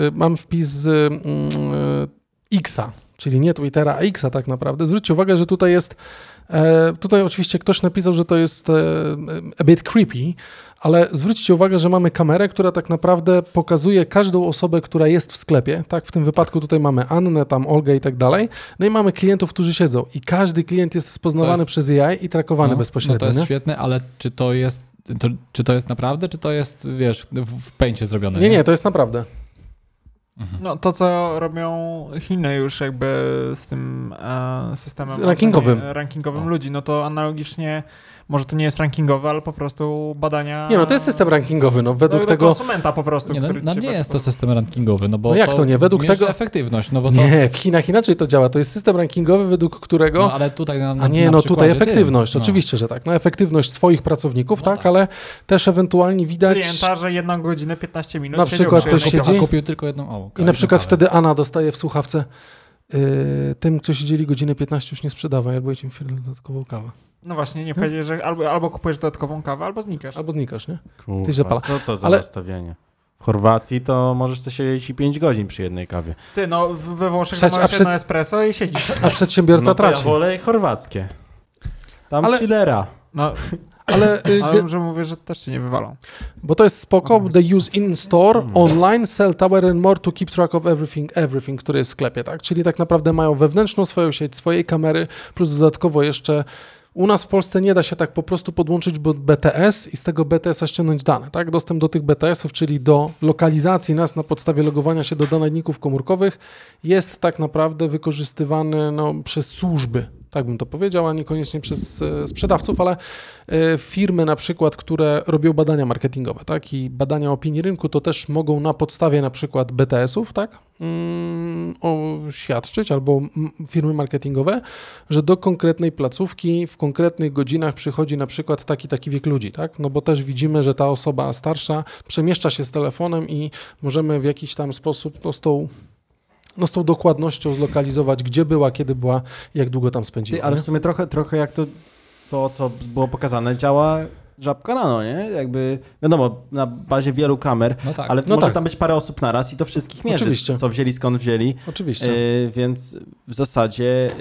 S1: e, mam wpis z mm, e, X-a, czyli nie Twittera, a X-a tak naprawdę. Zwróćcie uwagę, że tutaj jest, e, tutaj oczywiście ktoś napisał, że to jest e, a bit creepy, ale zwróćcie uwagę, że mamy kamerę, która tak naprawdę pokazuje każdą osobę, która jest w sklepie, tak? W tym wypadku tutaj mamy Annę, tam Olgę i tak dalej. No i mamy klientów, którzy siedzą i każdy klient jest
S4: To
S1: spoznawany
S4: jest-
S1: przez AI i trakowany
S4: no,
S1: bezpośrednio,
S4: No to jest
S1: nie?
S4: świetne, ale czy to jest, to, czy to jest naprawdę, czy to jest, wiesz, w, w pęcie zrobione?
S1: Nie, nie, to jest naprawdę.
S3: No to, co robią Chiny już jakby z tym e, systemem
S1: Z rankingowym.
S3: oceny- rankingowym
S4: O.
S3: ludzi, no to analogicznie, może to nie jest rankingowe, ale po prostu badania...
S1: Nie no, to jest system rankingowy, no według
S3: do,
S1: tego...
S3: Do konsumenta po prostu,
S4: Nie, no,
S3: który
S4: no
S3: ci
S4: nie
S3: bardzo
S4: jest to
S3: podoba.
S4: system rankingowy, no bo
S1: No jak to nie? Według
S4: mierzy
S1: tego-
S4: efektywność, no bo to...
S1: Nie, w Chinach inaczej to działa. To jest system rankingowy, według którego.
S4: No, ale tutaj na, na,
S1: a nie,
S4: na
S1: no tutaj
S4: przykładzie
S1: efektywność,
S4: tym, no.
S1: oczywiście, że tak. No efektywność swoich pracowników,
S4: No
S1: tak,
S4: tak.
S1: ale też ewentualnie widać.
S3: Klienta, że jedną godzinę, 15 minut
S1: Na
S3: siedział
S1: przykład
S3: przy
S1: to
S4: A
S3: jednej
S1: siedzi-
S4: kupił- A kupił tylko jedną o,
S1: I
S4: okej,
S1: na przykład
S4: no dalej.
S1: wtedy Anna dostaje w słuchawce. y, tym, co siedzieli godzinę 15, już nie sprzedawaj, albo idź im firmę dodatkową kawę.
S3: No właśnie, nie powiedzieć, że albo, albo kupujesz dodatkową kawę, albo znikasz.
S1: Albo znikasz, nie?
S2: Kurwa,
S1: Ty zapala.
S2: Co to za
S1: Ale-
S2: nastawienie? W Chorwacji to możesz sobie siedzieć i 5 godzin przy jednej kawie.
S3: Ty, no w- we Włoszech
S1: Przecież-
S3: masz
S1: a
S3: jedno
S1: przed-
S3: espresso i siedzisz.
S1: A przedsiębiorca
S2: no to ja
S1: traci.
S2: wolę chorwackie. Tam
S1: Ale-
S2: chillera.
S3: No,
S1: Ale, y,
S3: ale że mówię, że też cię nie wywalą.
S1: Bo to jest spoko, they use in store, online, sell tower and more to keep track of everything, everything, który jest w sklepie, tak? Czyli tak naprawdę mają wewnętrzną swoją sieć, swojej kamery, plus dodatkowo jeszcze u nas w Polsce nie da się tak po prostu podłączyć do BTS i z tego BTS-a ściągnąć dane, tak? Dostęp do tych BTS-ów, czyli do lokalizacji nas na podstawie logowania się do dodajników komórkowych jest tak naprawdę wykorzystywany no, przez służby, tak bym to powiedział, a niekoniecznie przez e, sprzedawców, ale e, firmy na przykład, które robią badania marketingowe, tak, i badania opinii rynku, to też mogą na podstawie na przykład BTS-ów, tak, mm, o, świadczyć, albo mm, firmy marketingowe, że do konkretnej placówki w konkretnych godzinach przychodzi na przykład taki, taki wiek ludzi, tak, no bo też widzimy, że ta osoba starsza przemieszcza się z telefonem i możemy w jakiś tam sposób no, z tą no z tą dokładnością zlokalizować, gdzie była, kiedy była, jak długo tam spędziła.
S2: Ty, ale
S1: nie?
S2: w sumie trochę, trochę jak to, to, co było pokazane, działa żabka nano, nie? Jakby, wiadomo, na bazie wielu kamer,
S4: No tak.
S2: ale
S1: No
S2: może
S1: tak.
S2: tam być parę osób naraz i to wszystkich mierzy,
S1: Oczywiście.
S2: co wzięli, skąd wzięli.
S1: Oczywiście.
S2: Yy, więc w zasadzie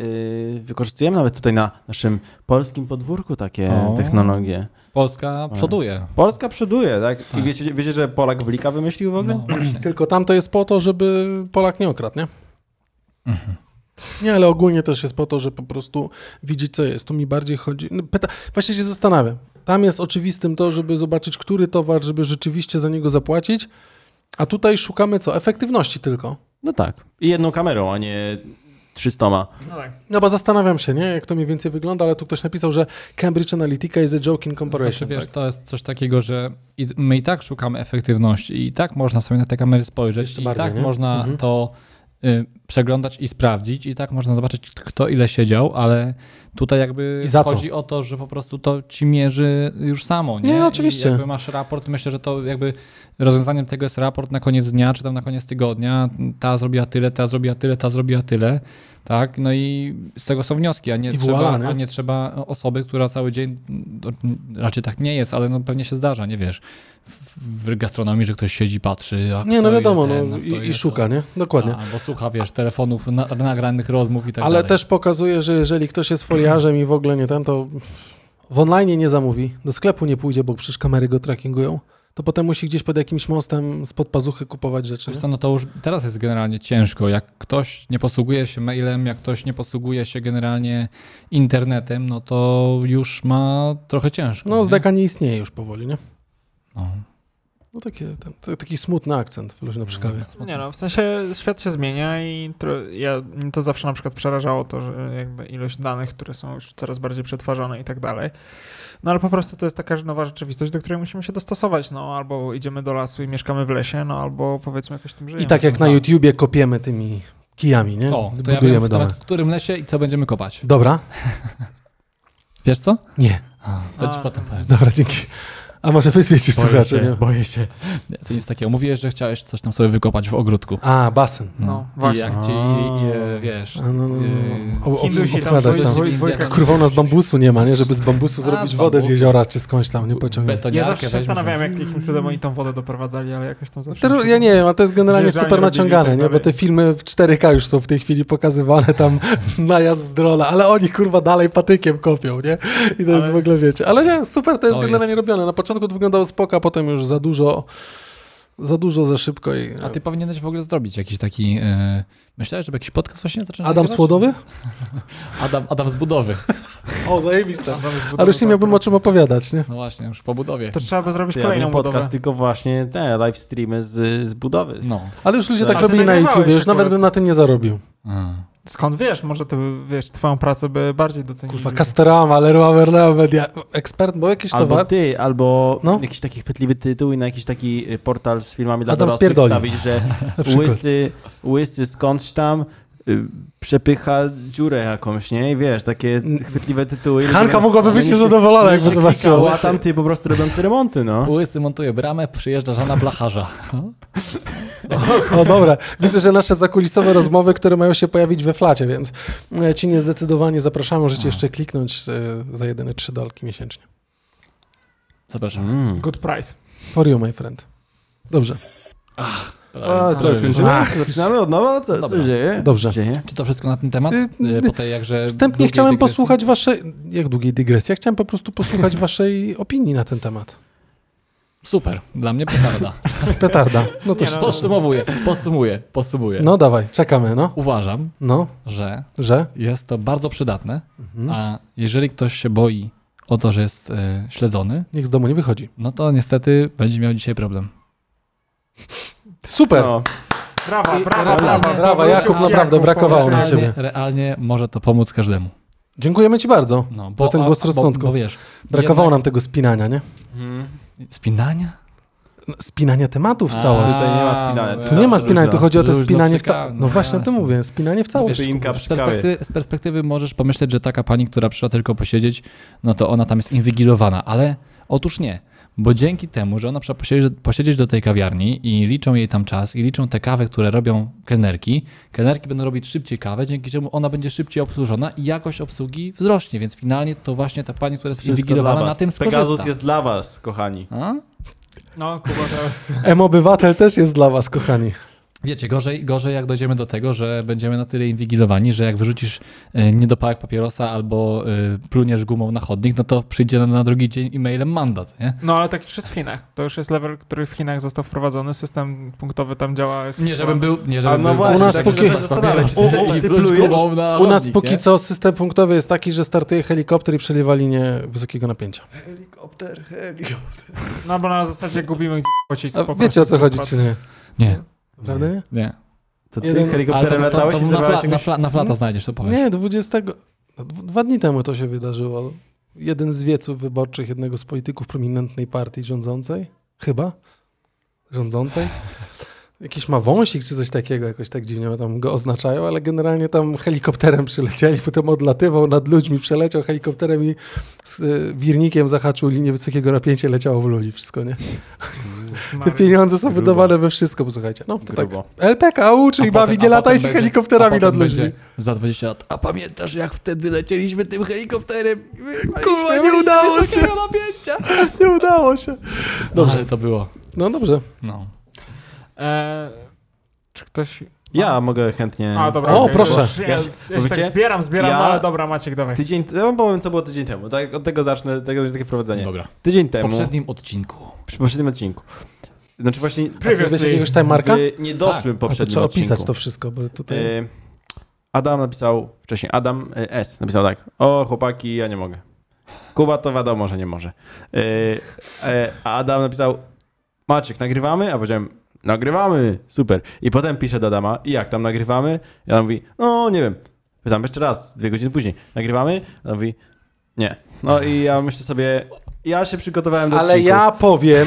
S2: yy, wykorzystujemy nawet tutaj na naszym polskim podwórku takie
S4: O.
S2: technologie. No.
S4: Polska przoduje.
S2: Polska przoduje, tak? I
S4: Tak.
S2: wiecie, wiecie, że Polak Blika wymyślił w ogóle?
S4: No, właśnie.
S1: Tak. Tylko tam to jest po to, żeby Polak nie okradł, nie?
S4: Mhm.
S1: Nie, ale ogólnie też jest po to, że po prostu widzieć, co jest. Tu mi bardziej chodzi. No, pyta... Właśnie się zastanawiam. Tam jest oczywistym to, żeby zobaczyć, który towar, żeby rzeczywiście za niego zapłacić. A tutaj szukamy co? Efektywności tylko.
S2: No tak. I jedną kamerą, a nie 300.
S3: No tak.
S1: No bo zastanawiam się, nie? Jak to mniej więcej wygląda, ale tu ktoś napisał, że Cambridge Analytica is a joke in
S4: Znaczy,
S1: comparison.
S4: wiesz,
S1: tak?
S4: to jest coś takiego, że i- my i tak szukamy efektywności i tak można sobie na te kamery spojrzeć
S1: Jeszcze
S4: i
S1: bardziej,
S4: tak
S1: nie?
S4: można
S1: Mhm.
S4: to y, przeglądać i sprawdzić i tak można zobaczyć, kto ile siedział, ale tutaj jakby
S1: I za co?
S4: chodzi o to, że po prostu to ci mierzy już samo, nie?
S1: Nie, oczywiście.
S4: I jakby masz raport, myślę, że to jakby rozwiązaniem tego jest raport na koniec dnia, czy tam na koniec tygodnia, ta zrobiła tyle, ta zrobiła tyle, ta zrobiła tyle, tak? No i z tego są wnioski, a nie
S1: I
S4: trzeba,
S1: voilà, nie?
S4: a nie trzeba osoby, która cały dzień, no, raczej tak nie jest, ale no pewnie się zdarza, nie wiesz, w, w gastronomii, że ktoś siedzi, patrzy, a
S1: Nie,
S4: kto
S1: no wiadomo,
S4: ile ten,
S1: no,
S4: a kto
S1: i,
S4: ile
S1: i szuka, nie? Dokładnie.
S4: To, albo słucha, wiesz, telefonów, na, nagranych rozmów i tak
S1: Ale
S4: dalej.
S1: też pokazuje, że jeżeli ktoś jest foliarzem i w ogóle nie ten, to w online nie zamówi, do sklepu nie pójdzie, bo przecież kamery go trackingują. to potem musi gdzieś pod jakimś mostem spod pazuchy kupować rzeczy. nie?
S4: Zresztą, no to już teraz jest generalnie ciężko. Jak ktoś nie posługuje się mailem, jak ktoś nie posługuje się generalnie internetem, no to już ma trochę ciężko.
S1: No,
S4: nie?
S1: zdeka nie istnieje już powoli, nie?
S4: No.
S1: No takie, ten, t- taki smutny akcent w luźno przy kawie.
S4: Tak,
S3: Nie no, w sensie świat się zmienia i tro- ja, mnie to zawsze na przykład przerażało to, że jakby ilość danych, które są już coraz bardziej przetwarzane i tak dalej. No ale po prostu to jest taka nowa rzeczywistość, do której musimy się dostosować, no albo idziemy do lasu i mieszkamy w lesie, no albo powiedzmy jakoś tym żyjemy.
S1: I tak jak na YouTubie kopiemy tymi kijami, nie?
S4: O, to ja
S1: Budujemy
S4: wiem
S1: domy.
S4: nawet w którym lesie i co będziemy kopać.
S1: Dobra?
S4: Wiesz co?
S1: Nie.
S4: A, to ci
S3: A,
S4: potem
S3: no.
S4: powiem.
S1: Dobra, dzięki. A może wyświecisz słuchacze,
S2: się,
S1: nie?
S2: boję się.
S4: Nie, to nic takiego. Mówiłeś, że chciałeś coś tam sobie wykopać w ogródku.
S1: A, basen.
S3: No, właśnie.
S4: I jak ci, i, i, wiesz...
S1: A, no, no, no,
S4: Yy,
S1: no. O, o,
S3: Hindusi tam
S1: odkładasz
S3: swoje-
S1: tam.
S3: swoje-
S4: Indian-
S3: swoje-
S1: Kurwa, u nas bambusu nie ma, nie? Żeby z bambusu
S4: A,
S1: zrobić
S4: z
S1: wodę z
S4: bambusu.
S1: jeziora czy skądś tam, nie pociągnie.
S3: Ja
S4: Betoniarkę
S3: zawsze się
S4: weźmiesz.
S3: zastanawiałem, jak, jakim cudem oni tą wodę doprowadzali, ale jakoś tam zawsze...
S1: Terror,
S3: mi się-
S1: no. ja nie wiem, ale to jest generalnie
S3: Zjeżdżanie
S1: super
S3: robili i
S1: naciągane,
S3: tak
S1: nie? Bo
S3: dalej.
S1: te filmy w 4K już są w tej chwili pokazywane tam najazd z drola, ale oni kurwa dalej patykiem kopią, nie? I to jest
S3: Ale-
S1: w ogóle, wiecie. Ale nie, super to jest
S4: To
S1: generalnie
S4: jest.
S1: robione. Na początku to wyglądało spoko, a potem już za dużo, za dużo, za szybko i...
S4: A ty powinieneś w ogóle zrobić jakiś taki... E... Myślałeś, żeby jakiś podcast właśnie zacząć
S1: Adam
S4: nagrywać?
S1: Słodowy?
S4: Adam, Adam z budowy.
S1: O, zajebista.
S3: Tam zbudowano
S1: Ale już nie
S3: tak-
S1: miałbym o czym opowiadać, nie?
S4: No właśnie, już po budowie.
S3: To trzeba by zrobić
S2: Ja
S3: kolejną
S2: bym podcast,
S3: budowę.
S2: tylko właśnie te live streamy z, z budowy.
S4: No.
S1: Ale już ludzie
S2: Ale
S1: tak
S3: ty
S1: robili na
S3: nagrywałeś
S1: YouTube, już nawet
S3: akurat.
S1: bym na tym nie zarobił.
S4: A.
S3: Skąd wiesz? Może ty, wiesz, twoją pracę by bardziej docenili.
S1: Kurwa, Castorama, Leroy Merlin, media... ekspert, bo jakiś
S2: Albo
S1: towar.
S2: ty, albo
S1: No.
S2: jakiś taki chwytliwy tytuł i na jakiś taki y, portal z filmami dla
S1: Adam
S2: dorosłych
S1: spierdoli.
S2: wstawić, że
S1: Na przykład.
S2: łysy, łysy skądś tam y, przepycha dziurę jakąś, nie? I wiesz, takie
S1: Mm.
S2: chwytliwe tytuły.
S1: Hanka mogłaby być
S2: Oni się-
S1: niezadowolona,
S2: oni
S1: jakby
S2: się klikało,
S1: zobaczyła.
S2: A tam ty po prostu robiący remonty, no.
S4: Łysy montuje bramę, przyjeżdża żona blacharza.
S1: O dobra, widzę, że nasze zakulisowe rozmowy, które mają się pojawić we flacie, więc e, ci niezdecydowanie zapraszamy. Możecie jeszcze kliknąć e, za jedyne trzy dolki miesięcznie.
S4: Zapraszam.
S1: Mhm.
S2: Mm.
S3: Good price.
S1: For you, my friend. Dobrze,
S2: A, co, już kończymy?
S1: Ach.
S2: Zaczynamy od nowa? Co, co
S4: Dobra.
S2: dzieje?
S1: Dobrze.
S2: Dzieje?
S4: Czy to wszystko na ten temat?
S1: Y,
S4: Y,
S1: y,
S4: Po tej jakże
S1: wstępnie
S4: długiej
S1: chciałem
S4: dygresji?
S1: posłuchać waszej, jak długiej dygresji, ja chciałem po prostu posłuchać waszej opinii na ten temat.
S4: Super, dla mnie petarda.
S1: Petarda. No to
S3: Nie,
S1: się...
S3: no.
S4: Podsumowuję, podsumuję, podsumuję.
S1: No dawaj, czekamy, no.
S4: Uważam,
S1: No,
S4: że
S1: że?
S4: jest to bardzo przydatne,
S1: Mhm.
S4: a jeżeli ktoś się boi o to, że jest y, śledzony,
S1: Nikt z domu nie wychodzi.
S4: no to niestety będzie miał dzisiaj problem.
S1: Super.
S2: No.
S3: Brawa,
S4: I-
S3: brawa,
S4: realnie-
S3: brawa.
S1: Brawa, Jakub, naprawdę brakowało nam ciebie.
S4: Realnie, realnie może to pomóc każdemu.
S1: Dziękujemy ci bardzo.
S4: No,
S1: Za ten
S4: a-
S1: głos
S4: bo-
S1: rozsądku.
S4: Bo, wiesz,
S1: Brakowało
S4: jednak-
S1: nam tego spinania, nie?
S4: Mhm. Spinania?
S1: Spinania tematów w
S4: A,
S1: całość.
S2: Tutaj nie ma spinania.
S1: Tu nie ma spinania, tu chodzi o to
S4: Luźno
S1: spinanie w
S4: przy kawie.
S1: całość. No właśnie o tym
S4: Właśnie.
S1: mówię, spinanie w całość.
S2: Wiesz, Spinka
S4: z
S2: przy kawie.
S4: perspektywy, z perspektywy możesz pomyśleć, że taka pani, która przyszła tylko posiedzieć, no to ona tam jest inwigilowana, ale otóż nie. Bo dzięki temu, że ona przyszła posiedzieć, posiedzieć do tej kawiarni i liczą jej tam czas i liczą te kawy, które robią kelnerki, kelnerki będą robić szybciej kawę, dzięki czemu ona będzie szybciej obsłużona i jakość obsługi wzrośnie, więc finalnie to właśnie ta pani, która jest
S2: Wszystko dla
S4: inwigilowana,
S2: was.
S4: na tym skorzysta.
S2: Pegasus jest dla was, kochani.
S4: A?
S3: No, Kuba teraz.
S1: M-obywatel też jest dla was, kochani.
S4: Wiecie, gorzej, gorzej jak dojdziemy do tego, że będziemy na tyle inwigilowani, że jak wyrzucisz e, niedopałek papierosa albo e, pluniesz gumą na chodnik, no to przyjdzie na, na drugi dzień e-mailem mandat, nie?
S3: No ale tak już jest w Chinach. To już jest level, który w Chinach został wprowadzony. System punktowy tam działa. jest
S4: Nie, żebym był... Nie,
S2: A
S4: żebym
S2: no
S4: był
S2: właśnie,
S1: U nas
S4: tak,
S1: póki-
S4: żeby papieros
S2: U- u-
S4: i
S2: ty
S4: pluć
S2: plujesz?
S4: gumą na
S1: U nas
S4: chodnik,
S1: póki
S4: nie?
S1: co system punktowy jest taki, że startuje helikopter i przelewa linię wysokiego napięcia.
S3: No bo na zasadzie gubimy gdzie pocisk.
S1: A
S3: po
S1: No, wiecie o co
S3: prostu
S1: chodzi,
S3: spadł.
S1: czy nie?
S4: Nie,
S1: Prawda nie?
S4: nie.
S2: To ty
S1: Jeden-
S2: z
S4: Ale
S2: helikopterem
S4: to, to,
S2: latałeś
S4: to
S2: i
S4: na, fla,
S2: zebrałeś
S4: na,
S2: jakąś...
S4: fla, na flata
S1: No.
S4: znajdziesz, to powiem.
S1: Nie, 20... no, d- Dwa dni temu to się wydarzyło. Jeden z wieców wyborczych jednego z polityków prominentnej partii rządzącej, chyba, rządzącej. Jakiś ma wąsik czy coś takiego, jakoś tak dziwnie tam go oznaczają, ale generalnie tam helikopterem przylecieli, potem odlatywał nad ludźmi, przeleciał helikopterem i z y, wirnikiem zahaczył linię wysokiego napięcia i leciało w ludzi wszystko, nie? Te pieniądze są
S2: Grubo.
S1: wydawane we wszystko, posłuchajcie. No, to tak.
S2: Grubo.
S1: LPK uczy
S4: A
S1: i bawi,
S4: potem-
S1: nie
S4: a potem
S1: latajcie
S4: będzie-
S1: helikopterami
S4: a potem
S1: nad ludźmi.
S4: będzie Za 20 lat. A pamiętasz, jak wtedy lecieliśmy tym helikopterem?
S1: Kurwa, nie udało się! Nie udało się. No
S4: Dobrze.
S1: Dobrze.
S4: Ale to było.
S1: No dobrze.
S4: No.
S3: E, czy ktoś
S2: Ja mogę chętnie.
S3: A, dobra.
S1: O,
S3: okej,
S1: proszę.
S3: dobra. Ja, ja się
S2: Mówicie?
S3: tak zbieram, zbieram,
S2: Ja-
S3: ale dobra, Maciek, dawaj.
S2: Tydzień, ja wam powiem, co było tydzień temu. Tak, od tego zacznę, tego będzie takie prowadzenie.
S4: Dobra.
S2: Tydzień
S4: W
S2: temu,
S4: poprzednim odcinku.
S2: przy poprzednim odcinku. Znaczy właśnie
S3: Previously.
S1: Weź jakiegoś timemarka?
S2: w niedoszłym
S1: A to
S2: poprzednim
S1: trzeba
S2: odcinku.
S1: opisać to wszystko, bo tutaj...
S2: Y, Adam napisał wcześniej, Adam y, S. napisał tak, o chłopaki, ja nie mogę. Kuba to wiadomo, że nie może. Y, y, A Adam napisał, Maciek, nagrywamy? A powiedziałem, nagrywamy, super. I potem pisze do Adama, i jak tam nagrywamy? I on mówi, no nie wiem. Pytam jeszcze raz, dwie godziny później, nagrywamy? A on mówi, nie. No i ja myślę sobie, ja się przygotowałem do
S1: Ale
S2: odcinków.
S1: ja powiem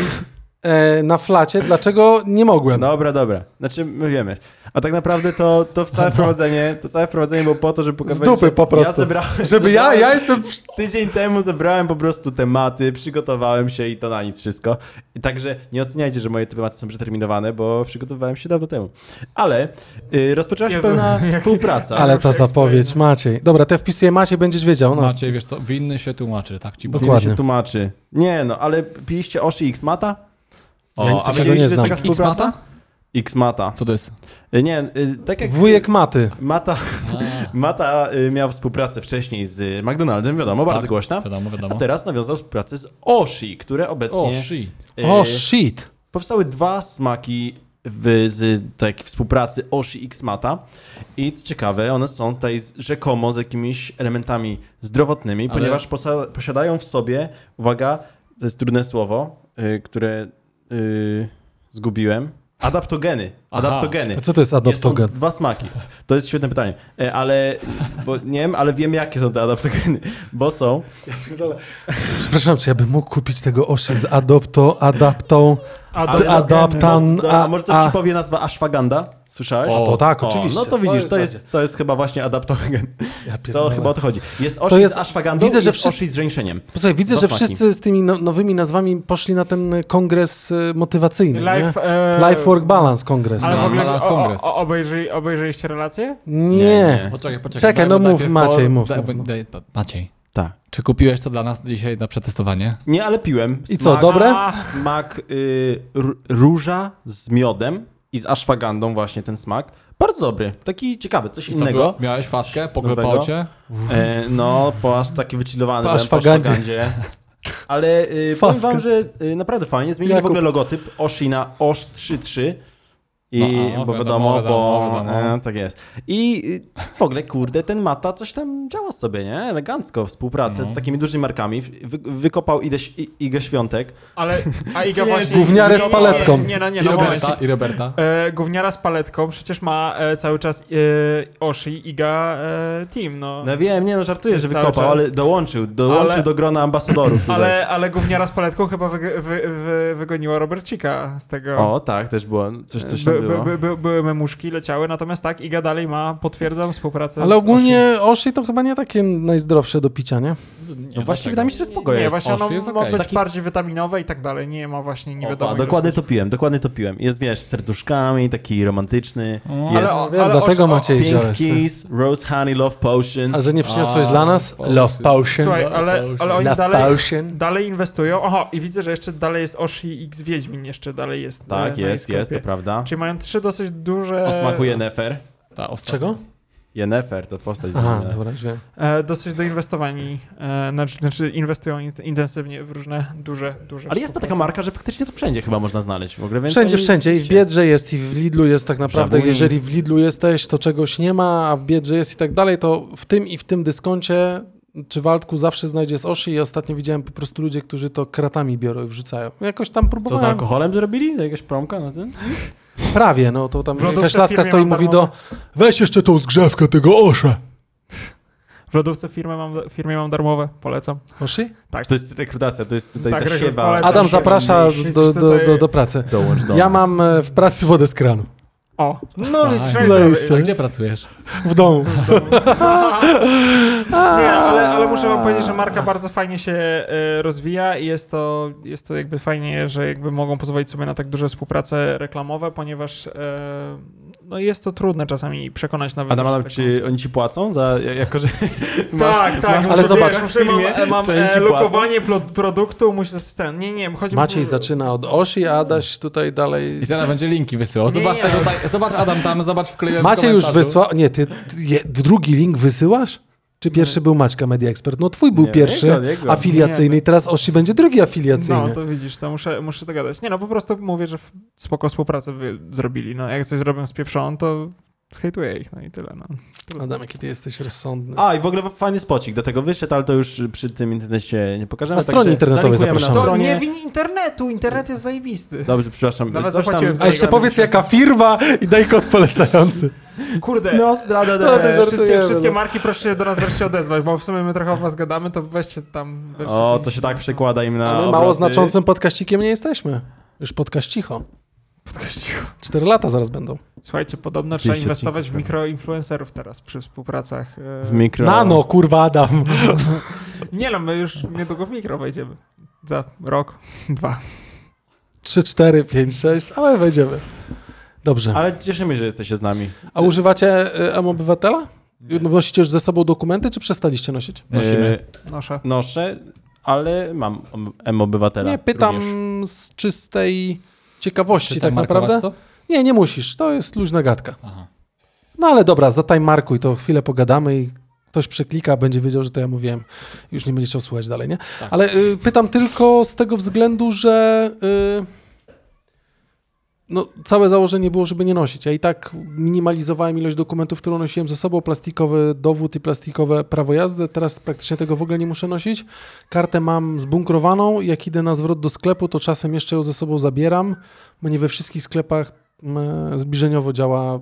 S1: e, na flacie, dlaczego nie mogłem.
S2: Dobra, dobra. Znaczy, my wiemy. A tak naprawdę to, to całe wprowadzenie, to całe wprowadzenie było po to, żeby pokazać,
S1: Z dupy
S2: że
S1: po prostu.
S2: Ja zebrałem,
S1: Żeby ja,
S2: zebrałem-
S1: ja jestem...
S2: Tydzień temu zebrałem po prostu tematy, przygotowałem się i to na nic wszystko. I Także nie oceniajcie, że moje tematy są przeterminowane, bo przygotowywałem się dawno temu. Ale y, rozpoczęła się
S3: Jezu,
S2: pewna
S3: jakie-
S2: współpraca.
S1: Ale
S3: już
S1: ta
S3: się
S1: zapowiedź,
S3: eksplain.
S1: Maciej. Dobra, te wpisy Maciej, będziesz wiedział. No,
S4: Macie, wiesz co, winny się tłumaczy, tak ci powiem.
S2: Dokładnie.
S1: dokładnie.
S2: się tłumaczy. Nie no, ale piliście Oshi X-Mata?
S1: Ja nic
S2: a
S1: takiego
S2: wiedzieliście,
S1: nie
S2: że jest
S1: znam.
S2: taka współpraca?
S4: X-Mata?
S2: X-Mata.
S4: Co to jest?
S2: Y, Nie, y, tak jak...
S1: Wujek Maty.
S2: Mata, Mata y, miał współpracę wcześniej z y, McDonaldem, wiadomo, bardzo
S4: Tak,
S2: głośna.
S4: Wiadomo, wiadomo.
S2: A
S1: No.
S2: teraz nawiązał współpracę z Oshi, które obecnie...
S4: O, shi.
S2: y,
S1: O, Oh, shit.
S2: powstały dwa smaki w, z tak, współpracy Oshi i Xmata. I co ciekawe, one są tutaj z, rzekomo z jakimiś elementami zdrowotnymi,
S4: Ale-
S2: ponieważ posa- posiadają w sobie, uwaga, to jest trudne słowo, y, które y, zgubiłem, adaptogeny.
S4: Aha.
S2: Adaptogeny.
S1: A co to jest adoptogen?
S2: Są dwa smaki. To jest świetne pytanie. E, Ale, bo nie wiem, ale wiem jakie są te adaptogeny, bo są
S1: Przepraszam, czy ja bym mógł kupić tego osi z adopto, adaptą,
S3: Adoptogeny.
S1: adaptan,
S2: Dobra,
S1: a,
S2: może coś
S1: a,
S2: ci powie nazwa ashwagandha? Słyszałeś?
S1: O, to tak, oczywiście.
S2: No to widzisz, to
S1: To
S2: jest,
S1: jest
S2: to jest, chyba właśnie adaptogen.
S1: ja
S2: To
S1: pierdolę.
S2: chyba o to chodzi. Jest oshi
S1: To jest-
S2: z ashwagandą
S1: widzę,
S2: widzę,
S1: że
S2: że jest
S1: wszyscy-
S2: oshi z żeńszeniem.
S1: Posłuchaj, widzę,
S2: Dwa
S1: że
S2: smaki.
S1: wszyscy z tymi no, nowymi nazwami poszli na ten y, kongres y, motywacyjny. nie?
S3: Life, e...
S1: Life Work Balance kongres.
S3: Ale
S4: No,
S3: w ogóle
S4: Balance
S3: o,
S4: Congress.
S3: o, obejrzyj, obejrzyliście relacje?
S1: Nie.
S2: nie.
S4: Poczekaj, poczekaj.
S1: Czekaj,
S4: daj
S1: no
S4: mu
S1: mów,
S4: najpierw-
S1: Maciej, mów,
S4: daj-
S1: mów, no.
S4: daj- pa- Maciej,
S2: Tak.
S4: czy kupiłeś to dla nas dzisiaj na przetestowanie?
S2: Nie, ale piłem.
S1: I co, dobre?
S3: A,
S2: Smak y, r- róża z miodem i z ashwagandą właśnie ten smak. Bardzo dobry. Taki ciekawy, coś
S4: I co
S2: innego.
S4: było? Miałeś faskę, poklepał
S2: Nowego?
S4: cię?
S2: E, no, po aż taki wychillowany
S1: Po
S2: byłem, po
S1: ashwagandzie.
S2: ashwagandzie. Ale y, powiem
S1: Faskę.
S2: wam, że y, naprawdę fajnie. Zmienili
S1: Jakub.
S2: w ogóle logotyp Oshi na Osh 33. I,
S4: No, a, wiadomo,
S2: bo wiadomo, bo
S4: wiadomo, wiadomo.
S2: E, tak jest. I y, w ogóle, kurde, ten Mata coś tam działa sobie, nie? Elegancko, współpracę z takimi dużymi markami. Wy, wykopał Idę, I- Igę Świątek.
S3: ale, a Iga
S2: Nie,
S3: właśnie...
S1: gówniarę z
S3: Nie, nie,
S1: paletką.
S3: Nie, nie, no, nie,
S4: I
S3: no, moment.
S4: Roberta, i Roberta.
S3: E, gówniara z paletką przecież ma e, cały czas e, Oshi, Iga, e, Team, no.
S2: No wiem, nie no, żartuję, że
S3: Cały
S2: wykopał,
S3: czas.
S2: ale dołączył, dołączył
S3: Ale-
S2: do grona ambasadorów tutaj.
S3: Ale, ale gówniara z paletką chyba wyg- wy, wy, wygoniła Robercika z tego. E,
S2: O, tak, też było. Coś, coś tam
S3: by,
S2: było. No
S3: by, by, by, były memuszki, leciały, natomiast tak, Iga dalej ma, potwierdzam, współpracę
S1: Ale
S3: z Oshi.
S1: ogólnie Oshi to chyba nie takie najzdrowsze do picia, nie?
S2: No
S4: tak,
S2: właśnie, wydaje mi się, że spoko
S3: Nie,
S2: jest.
S3: właśnie ono
S4: Oshi jest
S3: ma
S4: okej.
S3: być
S2: Taki-
S3: bardziej witaminowe i tak dalej, nie ma właśnie nie
S2: O,
S3: wiadomo.
S2: a,
S3: ilu
S2: dokładnie
S3: smaków.
S2: to piłem, dokładnie to piłem. Jest, wiesz, z serduszkami, taki romantyczny.
S4: O,
S2: jest
S3: No, o-
S1: Wiem, dlatego
S3: Oshi- o-
S1: Maciej
S2: Pink
S1: wziąłeś. tak.
S2: Kiss, Rose Honey Love Potion.
S1: A że nie przyniosłeś
S4: A,
S1: dla nas?
S4: Potion.
S1: Love Potion.
S3: Słuchaj, ale, ale oni
S1: Love
S3: dalej,
S1: Potion.
S3: dalej inwestują. Oho, i widzę, że jeszcze dalej jest Oshi X Wiedźmin, jeszcze dalej jest. e,
S2: Tak,
S3: na
S2: jest,
S3: jej
S2: jest, to
S3: sklepie.
S2: prawda.
S3: Czyli mają trzy dosyć duże.
S2: O smaku Yennefer.
S4: Ta ostatnia.
S1: Czego?
S2: Yennefer to postać z
S1: Aha,
S2: Yennefer.
S1: dobra, już wiem.
S3: E, dosyć doinwestowani, e, znaczy, znaczy inwestują in- intensywnie w różne duże, duże.
S2: Ale jest to taka
S3: współprace.
S2: marka, że faktycznie to wszędzie chyba można znaleźć w ogóle. Więc
S1: Wszędzie,
S2: oni-
S1: wszędzie. I w Biedrze jest, i w Lidlu jest tak naprawdę.
S2: Żabuni.
S1: Jeżeli w Lidlu jesteś, to czegoś nie ma, a w Biedrze jest i tak dalej, to w tym i w tym dyskoncie czy Waldku zawsze znajdzie z Oshi i ostatnio widziałem po prostu ludzie, którzy to kratami biorą i wrzucają. Jakoś tam
S2: Co z
S1: próbowałem.
S2: alkoholem zrobili? Jakaś promka na tym?
S1: Prawie, no to tam
S3: W lodówce
S1: jakaś laska
S3: firmy
S1: stoi i
S3: mam
S1: mówi do
S3: darmowe.
S1: weź jeszcze tą zgrzewkę tego Osza.
S3: W lodówce firmy mam, firmie mam darmowe, polecam.
S1: Oshi?
S2: Tak, To jest rekrutacja, to jest tutaj
S3: Tak,
S2: tak,
S3: rekrut-
S2: zasiewa.
S3: polecam.
S1: Adam
S3: się
S1: zaprasza
S3: myślisz
S1: do, do,
S3: tutaj-
S1: do, do pracy.
S2: Dołącz do
S1: Ja
S2: nas.
S1: mam e, w pracy wodę z kranu.
S3: O,
S1: No,
S4: Fajnie.
S3: Cześć,
S1: Lej
S3: ale-
S1: se.
S4: A gdzie pracujesz?
S1: w domu.
S3: Nie, ale, ale muszę wam powiedzieć, że marka bardzo fajnie się e, rozwija i jest to, jest to jakby fajnie, że jakby mogą pozwolić sobie na tak duże współprace reklamowe, ponieważ e, no jest to trudne czasami przekonać nawet.
S2: Adam,
S3: już
S2: Adam,
S3: taką
S2: czy oni ci płacą za, jako że
S3: tak, tak,
S2: masz-
S3: masz,
S2: ale zobacz, w
S3: zawsze mam,
S2: filmie
S3: mam
S2: to oni
S3: e,
S2: ci płacą.
S3: lokowanie plo, produktu, musisz ten, nie, nie, chodzi
S1: Maciej zaczyna od osi, a Adaś tutaj dalej...
S4: I teraz będzie linki wysyłał. Zobacz,
S3: Nie,
S4: sobie
S2: no.
S3: nie.
S4: Tutaj, zobacz Adam tam, zobacz wkleję w
S1: Maciej już
S4: komentarzu.
S1: wysłał... Nie, ty, ty je, drugi link wysyłasz? Czy pierwszy był Maćka Media Expert? No twój był
S2: Nie,
S1: pierwszy
S2: jego, jego.
S1: afiliacyjny i teraz Osi będzie drugi afiliacyjny.
S3: No, to widzisz, to muszę, muszę dogadać. Nie no, po prostu mówię, że w- spoko współpracę wy zrobili, no jak coś zrobią z pieprzą, to zhejtuję ich, no i tyle, no.
S1: Adam, jaki ty jesteś rozsądny.
S2: A, i w ogóle fajny spocik do tego wyższy, ale to już przy tym internecie nie pokażemy.
S1: Na stronie
S2: także
S1: internetowej
S2: zalinkujemy
S1: zapraszamy.
S2: Na
S1: To
S3: To nie
S2: stronie.
S3: win internetu, internet jest zajebisty.
S2: Dobrze, przepraszam.
S3: Nawet
S2: coś tam-
S3: zapłaciłem za-
S1: A jeszcze
S3: Zagadam
S1: powiedz
S3: się.
S1: jaka firma i daj kod polecający.
S3: Kurde,
S2: No, zdrada,
S1: No, to
S3: e,
S2: zdrada.
S1: żartujemy,
S3: wszystkie, wszystkie
S1: no.
S3: marki proszę się do nas wreszcie odezwać, bo w sumie my trochę o was gadamy, to weźcie tam... Weźcie
S2: O, to się tak przekłada im na
S1: Ale mało
S2: obroty.
S1: znaczącym podkaścikiem nie jesteśmy. Już podcast cicho. Cztery lata zaraz będą.
S3: Słuchajcie, podobno trzeba
S2: 30
S3: inwestować w
S2: odcinków,
S3: mikroinfluencerów teraz przy współpracach. e,
S2: W mikro...
S1: Nano, kurwa Adam.
S3: Nie no, my już niedługo w mikro wejdziemy. Za rok, dwa.
S1: Trzy, cztery, pięć, sześć, ale wejdziemy. Dobrze.
S2: Ale cieszymy, że jesteście z nami.
S1: A używacie y, M obywatela? Nosicie już ze sobą dokumenty, czy przestaliście nosić?
S4: Nosimy.
S2: E,
S3: Noszę.
S2: noszę, ale mam M obywatela.
S1: Nie, pytam
S2: Również.
S1: z czystej ciekawości
S4: Czy
S1: tak
S4: tam
S1: naprawdę.
S4: markować to?
S1: Nie, nie musisz. To jest luźna gadka.
S4: Aha.
S1: No ale dobra, zataj markuj, to chwilę pogadamy i ktoś przeklika, będzie wiedział, że to ja mówiłem. Już nie będzie chciał słuchać dalej, nie?
S4: Tak.
S1: Ale y, pytam tylko z tego względu, że y, no, całe założenie było, żeby nie nosić. Ja i tak minimalizowałem ilość dokumentów, które nosiłem ze sobą, plastikowy dowód i plastikowe prawo jazdy. Teraz praktycznie tego w ogóle nie muszę nosić. Kartę mam zbunkrowaną. Jak idę na zwrot do sklepu, to czasem jeszcze ją ze sobą zabieram, bo nie we wszystkich sklepach mm, zbliżeniowo działa e,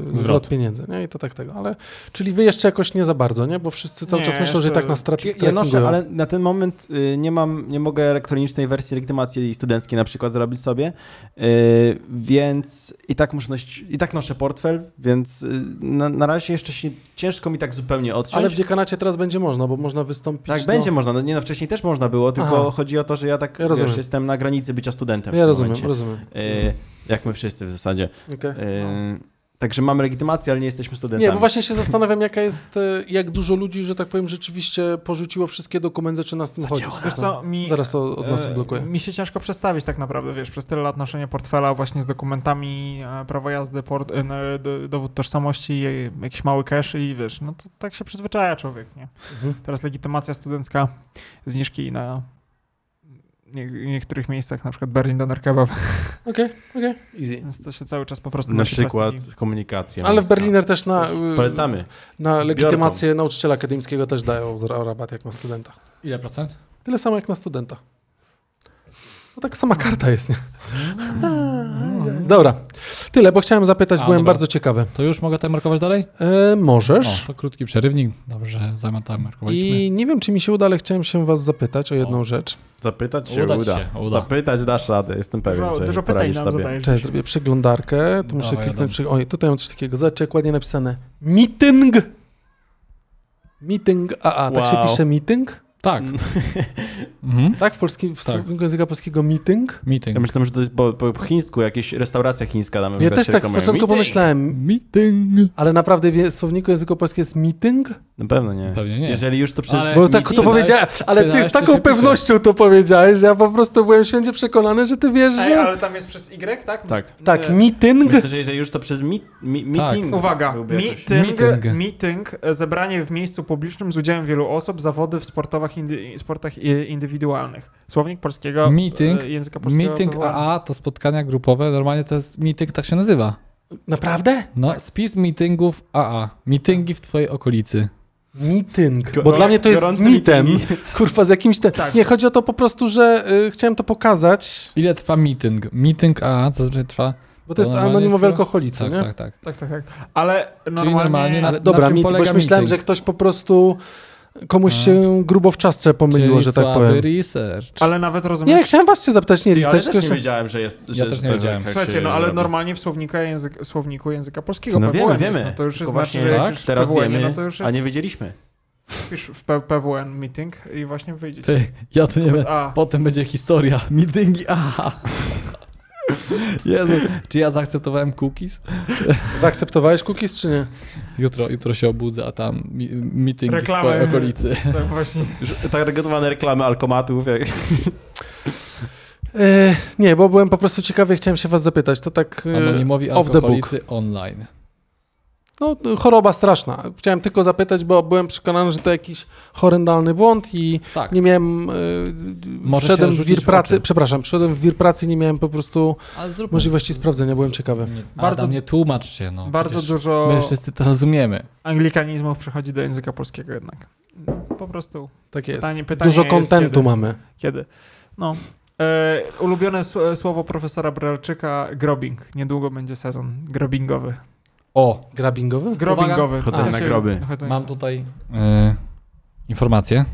S1: zwrot,
S2: Zwrot.
S1: pieniędzy, nie? I to tak tego, ale czyli wy jeszcze jakoś nie za bardzo, nie? Bo wszyscy cały
S3: Nie,
S1: czas myślą, że i
S3: jeszcze-
S1: tak nas straci
S2: Ja- Ja noszę, ale na ten moment y, nie mam, nie mogę elektronicznej wersji legitymacji studenckiej na przykład zrobić sobie, y, więc i tak muszę nosić, i tak noszę portfel, więc y, na, na razie jeszcze się ciężko mi tak zupełnie odciąć.
S1: Ale w dziekanacie teraz będzie można, bo można wystąpić.
S2: tak,
S1: do-
S2: będzie można. No, nie no, wcześniej też można było, tylko
S1: Aha.
S2: chodzi o to, że ja tak
S1: Ja
S2: wiesz,
S1: rozumiem.
S2: jestem na granicy bycia studentem. w
S1: Ja
S2: tym
S1: rozumiem,
S2: momencie.
S1: rozumiem.
S2: Y, jak my wszyscy w zasadzie.
S1: Okej.
S2: Y, Także mamy legitymację, ale nie jesteśmy studentami.
S1: Nie, bo właśnie się zastanawiam, jaka jest, e, jak dużo ludzi, że tak powiem, rzeczywiście porzuciło wszystkie dokumenty, czy nas tym chodzi.
S3: Wiesz co, mi,
S1: Zaraz to od nas
S3: e,
S1: Tak, blokuje.
S3: Mi się ciężko przestawić tak naprawdę, wiesz, przez tyle lat noszenia portfela właśnie z dokumentami e, prawo jazdy, port, e, no, do, dowód tożsamości, e, jakiś mały cash i wiesz, no to tak się przyzwyczaja człowiek, nie?
S1: Mhm.
S3: Teraz legitymacja studencka, zniżki na nie, niektórych miejscach, na przykład Berlin Doner Kebab,
S1: Okej, okej, easy.
S3: więc to się cały czas po prostu
S2: na
S3: nosi
S2: przykład
S3: plastiki.
S2: komunikacja.
S1: Ale w
S2: miejska.
S1: Berliner też na, y,
S2: Polecamy.
S1: na
S2: Zbiorką.
S1: legitymację nauczyciela akademickiego też dają za- rabat jak na studenta.
S4: Ile procent?
S1: Tyle samo jak na studenta. No tak sama karta jest, nie? Dobra, tyle, bo chciałem zapytać,
S4: A,
S1: byłem
S4: dobra.
S1: bardzo ciekawy.
S4: To już mogę tam markować dalej?
S1: E, możesz.
S4: O, to krótki przerywnik. Dobrze, zamiatam markowaliśmy.
S1: I nie wiem, czy mi się uda, ale chciałem się was zapytać o jedną
S4: O.
S1: rzecz.
S2: Zapytać się
S4: Uda
S2: uda.
S4: ci się, uda.
S2: Zapytać dasz radę, jestem pewien,
S3: Dużo,
S2: że
S3: dużo pytań
S2: poradzisz
S3: nam
S2: sobie.
S3: zadajesz.
S1: Cześć, zrobię przeglądarkę. Tu muszę
S4: Dawaj, Adam.
S1: kliknąć. Przy... Oj, tutaj mam coś takiego. Zobaczcie, jak ładnie napisane. Meeting! Meeting AA. Tak się
S2: Wow.
S1: pisze meeting?
S4: Tak. mhm.
S1: Tak, w, polskim, w
S4: Tak.
S1: słowniku języka polskiego meeting.
S4: Meeting.
S2: Ja myślałem, że to jest po, po chińsku, jakieś restauracja chińska tam.
S1: Ja też tak z początku pomyślałem,
S4: Meeting.
S1: ale naprawdę w słowniku języka polskiego jest meeting?
S2: Na pewno nie.
S4: Pewnie nie.
S2: Jeżeli już to przecież...
S4: Ale-
S1: Bo tak to
S4: meeting,
S1: powiedziałeś, ale ty
S4: wydałeś,
S1: z
S4: co
S1: taką
S4: się pisze.
S1: pewnością to powiedziałeś, że ja po prostu byłem święcie przekonany, że ty wiesz,
S3: Ej,
S1: że...
S3: ale tam jest przez Y, tak?
S2: Tak.
S1: Tak,
S3: E,
S1: meeting.
S2: Myślę, że jeżeli już to przez mi, mi,
S4: Tak.
S2: meeting...
S3: Uwaga,
S2: byłby jakoś-
S3: meeting, meeting.
S4: Meeting.
S3: e, zebranie w miejscu publicznym z udziałem wielu osób, zawody w sportowach indy, sportach e, indywidualnych. Słownik polskiego e,
S4: Meeting.
S3: języka polskiego.
S4: Meeting
S3: wywołany.
S4: AA to spotkania grupowe. Normalnie to jest meeting, tak się nazywa.
S1: Naprawdę?
S4: No, spis meetingów AA. Meetingi w twojej okolicy.
S1: Meeting. Bo
S2: Gorą-
S1: dla mnie to jest z
S2: gorące
S1: mitem.
S2: meetingi.
S1: Kurwa, z jakimś ten.
S3: Tak.
S1: Nie, chodzi o to po prostu, że y, chciałem to pokazać,
S4: Ile trwa meeting? Meeting AA zazwyczaj trwa...
S1: bo to jest
S4: normalnie
S1: anonimowy
S4: trwa-
S1: alkoholicy,
S4: Tak,
S1: nie?
S4: tak, tak.
S3: Tak, tak, tak. Ale normalnie...
S4: normalnie na-
S1: Ale dobra,
S4: czym
S1: mit, bo
S4: polega
S1: już myślałem,
S4: meeting?
S1: że ktoś po prostu komuś
S4: A.
S1: się grubo w czasce pomyliło,
S4: Czyli
S1: że tak
S4: słaby
S1: powiem.
S4: research.
S3: Ale nawet rozumiesz...
S1: Nie, chciałem was się zapytać, nie,
S2: Ty, ale
S1: listać,
S2: też nie
S1: tylko
S2: wiedziałem, że jest...
S4: Ja
S2: że,
S4: też
S2: że
S4: nie
S2: to
S4: wiedziałem.
S2: tak
S3: Słuchajcie,
S2: się
S3: no ale
S2: robi.
S3: normalnie w słownika język, słowniku języka polskiego
S2: No wiemy,
S3: PWN jest,
S2: wiemy.
S3: no to już
S2: Tylko
S3: jest
S2: właśnie
S3: znaczy, że
S4: tak,
S3: jak już
S2: Teraz
S3: w PWN,
S2: wiemy,
S3: no to już
S2: a
S3: jest
S2: nie wiedzieliśmy.
S3: wpisz w P- PWN meeting i właśnie wyjdzie.
S4: Ty, ja tu nie wiem.
S3: Bez A.
S4: Potem będzie historia. Meetingi AA. Jezu, czy ja zaakceptowałem cookies?
S1: Zaakceptowałeś cookies czy nie?
S4: Jutro, jutro się obudzę, a tam mi, meeting
S3: Reklamy.
S4: w twojej okolicy.
S3: Tak właśnie.
S2: Już Targetowane reklamy alkomatów. Jak...
S1: E, nie, bo byłem po prostu ciekawy i chciałem się was zapytać. To tak e,
S4: Anonimowi
S1: off the book.
S4: alkoholicy online.
S1: No, to choroba straszna. Chciałem tylko zapytać, bo byłem przekonany, że to jakiś horrendalny błąd i
S4: Tak,
S1: nie miałem... E,
S4: Może się
S1: wszedłem w
S4: rzucić
S1: wir
S4: w
S1: pracy,
S4: oczy.
S1: przepraszam, wszedłem w wir pracy i nie miałem po prostu
S4: ale zróbmy.
S1: możliwości sprawdzenia, byłem ciekawy.
S4: Nie,
S3: Bardzo-
S4: bardzo nie tłumacz się. No.
S3: Bardzo
S4: Przecież
S3: dużo
S4: My wszyscy to rozumiemy.
S3: anglikanizmów przychodzi do języka polskiego jednak. Po prostu
S1: Tak jest.
S3: pytanie, pytanie
S1: Dużo
S3: jest,
S1: kontentu
S3: kiedy.
S1: mamy.
S3: Kiedy? No. E, ulubione s- słowo profesora Brelczyka grobing. Niedługo będzie sezon grobingowy.
S4: O,
S1: Grabbingowy?
S3: Grobingowy.
S2: Chodzenie na groby.
S3: chodzenie-
S4: mam tutaj e, informację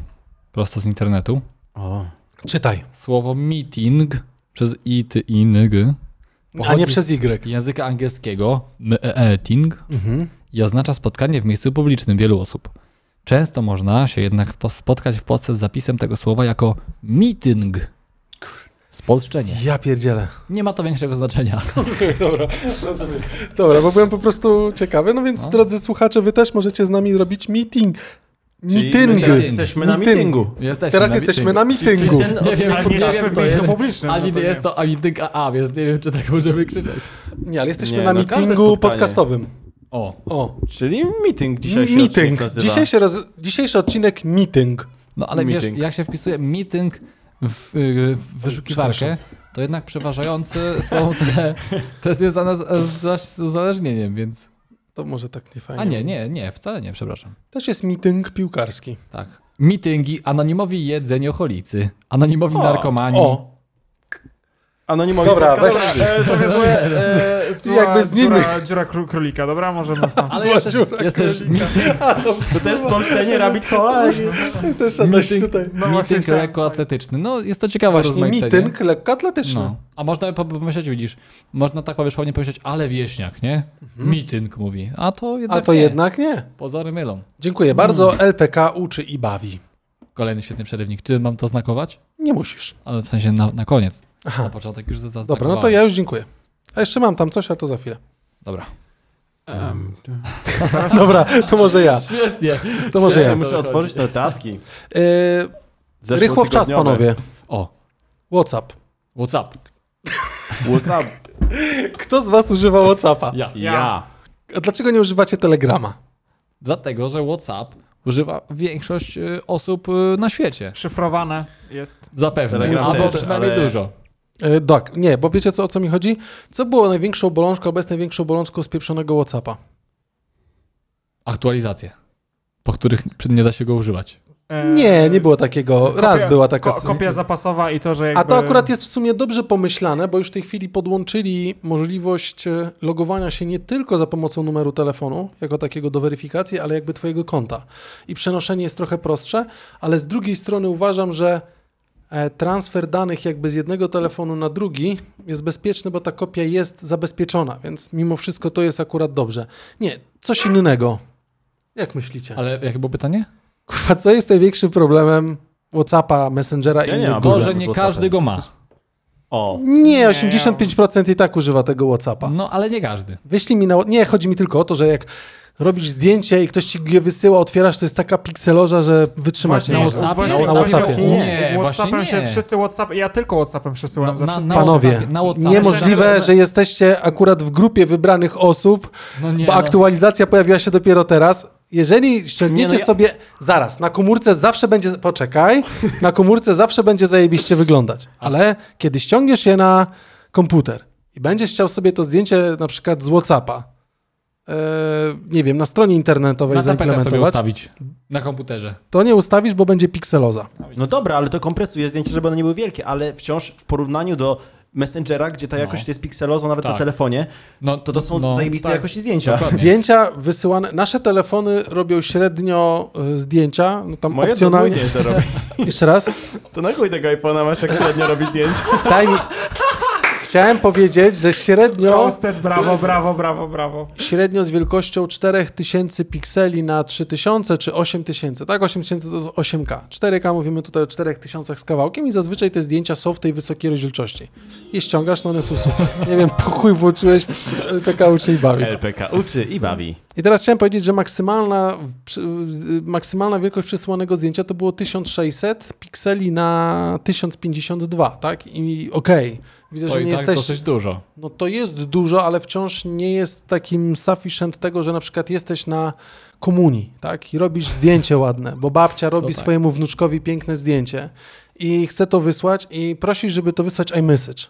S4: prosto z internetu.
S2: O.
S1: Czytaj.
S4: Słowo meeting przez i ty i ng
S1: A
S4: Pochodzi
S1: nie
S4: z-
S1: przez Y.
S4: języka angielskiego meeting
S1: Mhm.
S4: i oznacza spotkanie w miejscu publicznym wielu osób. Często można się jednak po- spotkać w Polsce z zapisem tego słowa jako meeting. Spolszczenie.
S1: Ja pierdzielę.
S4: Nie ma to większego znaczenia.
S1: Dobra, rozumiem. Dobra, bo byłem po prostu ciekawy. No więc,
S4: No.
S1: drodzy słuchacze, wy też możecie z nami robić meeting.
S2: Czyli
S1: Meeting.
S2: my teraz jesteśmy na
S1: Meeting.
S2: meetingu.
S4: Jesteśmy
S1: Teraz
S4: na
S1: jesteśmy
S4: meetingu.
S1: na meetingu.
S2: Ten
S4: Nie
S2: odcinek
S4: wiem,
S3: Ale nie
S4: wiem,
S3: jesteśmy
S4: kto
S3: w
S4: to
S3: miejscu
S4: jest.
S3: publicznym.
S4: Ani
S3: no to
S4: nie jest to ani dynk AA, więc nie wiem, czy tak możemy krzyczeć.
S1: Nie, ale jesteśmy
S2: Nie,
S1: na
S2: no, każde
S1: meetingu
S2: spotkanie.
S1: podcastowym.
S4: O,
S1: O,
S2: Czyli meeting dzisiaj się
S1: meeting.
S2: odcinek nazywa.
S1: Dzisiejszy, roz... Dzisiejszy odcinek meeting.
S4: no ale
S2: Meeting.
S4: wiesz, jak się wpisuje meeting w, y, w wyszukiwarkę, to jednak przeważające są te, te związane z, z, z uzależnieniem, więc...
S1: To może tak nie fajnie.
S4: A nie, nie, nie, wcale nie, przepraszam.
S1: Też jest meeting piłkarski.
S4: Tak. Meetingi, anonimowi jedzeniooholicy, anonimowi
S2: O,
S4: narkomani.
S1: O,
S2: Anonimowi
S1: Dobra,
S2: podcasterzy.
S1: weź-
S3: E, to jest moje, e, zła
S1: Jakby z nimi.
S3: dziura, dziura kró- królika, dobra? Możemy tam.
S4: Ale jest też,
S1: dziura
S4: jest też meeting,
S2: To też spolszczenie Rabbit Hola. i-
S1: też jakaś
S4: Meeting.
S1: tutaj.
S3: No właśnie
S4: meeting
S3: chciałem-
S4: lekkoatletyczny. No, jest to ciekawe
S1: Właśnie
S4: rozmaicenie.
S1: meeting lekkoatletyczny.
S4: No. A można by po- pomyśleć, widzisz, można tak powierzchownie pomyśleć, ale wieśniak, nie? Meeting mówi. A to jednak
S1: Mhm. A to
S4: nie.
S1: jednak nie.
S4: Pozory mylą.
S1: Dziękuję bardzo.
S3: Hmm.
S1: LPK uczy i bawi.
S4: Kolejny świetny przerywnik. Czy mam to znakować?
S1: Nie musisz.
S3: Tak
S4: Ale w sensie na, na koniec.
S1: Aha.
S4: Na początek już zaznakowałem.
S1: Dobra, no to ja już dziękuję. A jeszcze mam tam coś, ale to za chwilę.
S4: Dobra.
S2: Em,
S3: Tak.
S1: Dobra, to może ja.
S4: Nie.
S1: To może
S2: ja
S1: ja.
S2: muszę otworzyć notatki.
S1: Yy, rychło w czas,
S2: Zeszłotygodniowe.
S1: panowie.
S4: O,
S1: WhatsApp.
S4: WhatsApp.
S2: WhatsApp.
S1: Kto z was używa WhatsAppa?
S4: Ja.
S2: Ja.
S1: A dlaczego nie używacie Telegrama?
S4: Dlatego, że WhatsApp używa większość y, osób y, na świecie.
S3: Szyfrowane jest.
S4: Zapewne.
S2: Telegram
S4: Albo
S2: też,
S4: przynajmniej
S2: ale-
S4: dużo.
S1: E, tak, nie, bo wiecie co, o co mi chodzi? Co było największą bolączką, obecnie największą bolączką spieprzonego WhatsAppa?
S4: Aktualizacje, po których nie da się go używać.
S3: E,
S1: Nie, nie było takiego. Raz
S3: kopia-
S1: była taka...
S3: Ko- kopia zapasowa i to, że jakby...
S1: A to akurat jest w sumie dobrze pomyślane, bo już w tej chwili podłączyli możliwość e, logowania się nie tylko za pomocą numeru telefonu, jako takiego do weryfikacji, ale jakby twojego konta. I przenoszenie jest trochę prostsze, ale z drugiej strony uważam, że e, transfer danych jakby z jednego telefonu na drugi jest bezpieczny, bo ta kopia jest zabezpieczona, więc mimo wszystko to jest akurat dobrze. Nie, coś innego. Jak myślicie?
S4: Ale jakie było pytanie?
S1: Kurwa, co jest największym problemem WhatsApp'a, Messengera
S2: Ja
S1: i
S2: nie
S1: innych
S2: mam
S4: To,
S2: Problem
S4: że
S2: z
S4: nie
S2: WhatsAppem.
S4: każdy go ma.
S2: O.
S1: Nie, 85% i tak używa tego WhatsAppa.
S4: No, ale nie każdy.
S1: Wyślij mi na. Nie, chodzi mi tylko o to, że jak robisz zdjęcie i ktoś ci je wysyła, otwierasz, to jest taka pikselorza, że wytrzymać
S3: Właśnie,
S1: nie
S4: na
S1: można.
S4: Whatsappie?
S3: właśnie
S1: Na
S3: o to mi
S1: Whatsappie.
S3: chodziło.
S4: Nie,
S3: Whatsappem
S4: właśnie
S3: się
S4: nie.
S3: wszyscy Whatsapp... Ja tylko Whatsappem przesyłam
S4: No,
S3: zawsze.
S4: na-
S3: wszystko.
S4: na
S1: Panowie,
S4: WhatsAppie, na WhatsAppie.
S1: niemożliwe, że jesteście akurat w grupie wybranych osób,
S4: No nie,
S1: bo
S4: no.
S1: aktualizacja pojawiła się dopiero teraz. Jeżeli ściągniecie
S2: Nie, no ja-
S1: sobie. Zaraz, na komórce zawsze będzie. Poczekaj, na komórce zawsze będzie zajebiście wyglądać, ale kiedy ściągniesz je na komputer i będziesz chciał sobie to zdjęcie na przykład z Whatsappa, e, nie wiem, na stronie internetowej
S4: Na tapetę sobie
S1: zaimplementować,
S4: ustawić. Na komputerze.
S1: to nie ustawisz, bo będzie pikseloza.
S2: No dobra, ale to kompresuje zdjęcie, żeby one nie były wielkie, ale wciąż w porównaniu do Messengera, gdzie ta
S4: No.
S2: jakość jest pikselową nawet na
S4: Tak.
S2: telefonie,
S4: No,
S2: to to są
S4: no,
S2: zajebiste
S3: tak.
S2: jakości zdjęcia.
S4: Dokładnie.
S1: Zdjęcia wysyłane, nasze telefony robią średnio e, zdjęcia, no tam
S2: Moje
S1: opcjonalnie.
S2: opcjonalnie to robi.
S1: Jeszcze raz.
S2: To na chuj tego iPhone'a masz, jak średnio robi zdjęcia.
S1: Daj mi. Chciałem powiedzieć, że średnio,
S3: Roasted, brawo, brawo, brawo, brawo.
S1: średnio z wielkością 4000 pikseli na 3000 czy 8000, tak? 8000 to jest 8K. 4K mówimy tutaj o 4000 z kawałkiem i zazwyczaj te zdjęcia są w tej wysokiej rozdzielczości. I ściągasz, no one są super. Nie wiem, po chuj włączyłeś LPK uczy i bawi.
S2: LPK uczy i bawi.
S1: I teraz chciałem powiedzieć, że maksymalna, przy- y, maksymalna wielkość przesyłanego zdjęcia to było 1600 pikseli na 1052, tak? I okej, widzę,
S4: To
S1: że
S4: i
S1: nie
S4: tak
S1: jesteś...
S4: dosyć dużo.
S1: No to jest dużo, ale wciąż nie jest takim sufficient tego, że na przykład jesteś na komunii, tak? I robisz zdjęcie ładne, bo babcia robi
S4: tak.
S1: swojemu wnuczkowi piękne zdjęcie i chce to wysłać i prosi, żeby to wysłać iMessage,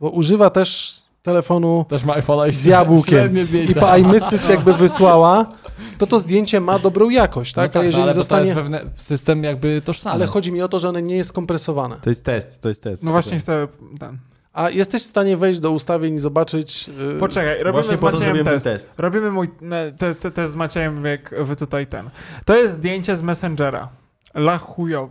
S1: bo używa też telefonu
S4: Też ma iPhone'a i
S1: z jabłkiem
S4: średnie zdjęcia. No
S1: i po iMessage jakby wysłała, to to zdjęcie ma dobrą jakość,
S4: No
S1: tak? A jeżeli
S4: ale bo To
S1: zostanie...
S4: jest pewne system jakby tożsamy.
S1: Ale chodzi mi o to, że one nie jest kompresowane.
S2: To jest test, to jest test.
S3: No właśnie chcę ten.
S1: A jesteś w stanie wejść do ustawień i zobaczyć... yy,
S3: Poczekaj, robimy
S2: Właśnie
S3: z
S2: po to
S3: Maciejem
S2: zrobiłem ten
S3: test.
S2: test.
S3: Robimy mój ne, te, te, te z Maciejem, jak wy tutaj ten. To jest zdjęcie z Messengera. La chujowe.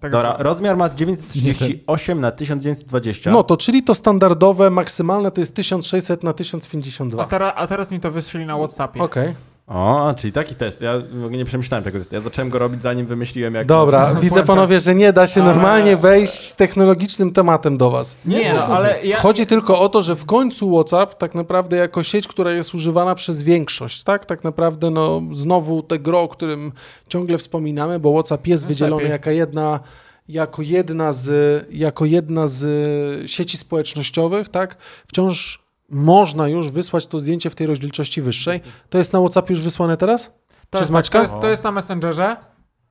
S3: Tak
S2: Dobra,
S3: zwane.
S2: rozmiar ma 938 na 1920.
S1: No to czyli to standardowe, maksymalne to jest 1600 na
S3: A,
S1: 1052.
S3: tera, a tak. teraz mi to wyszli na Whatsappie.
S1: Okej.
S2: O, czyli taki test. Ja w ogóle nie przemyślałem tego testu. Ja zacząłem go robić zanim wymyśliłem jak...
S1: Dobra, widzę panowie, że nie da się
S3: Ale-
S1: normalnie wejść z technologicznym tematem do was.
S3: Nie, no, ale ja...
S1: Chodzi tylko o to, że w końcu WhatsApp tak naprawdę jako sieć, która jest używana przez większość, tak? Tak naprawdę no znowu te gro, o którym ciągle wspominamy, bo WhatsApp jest
S3: Jest
S1: wydzielony
S3: lepiej.
S1: jako jedna, jako jedna z, jako jedna z sieci społecznościowych, tak? Wciąż można już wysłać to zdjęcie w tej rozdzielczości wyższej. To jest na WhatsApp już wysłane teraz?
S3: to,
S1: Przez
S3: jest,
S1: Maćka?
S3: Tak, to, jest, to jest na Messengerze.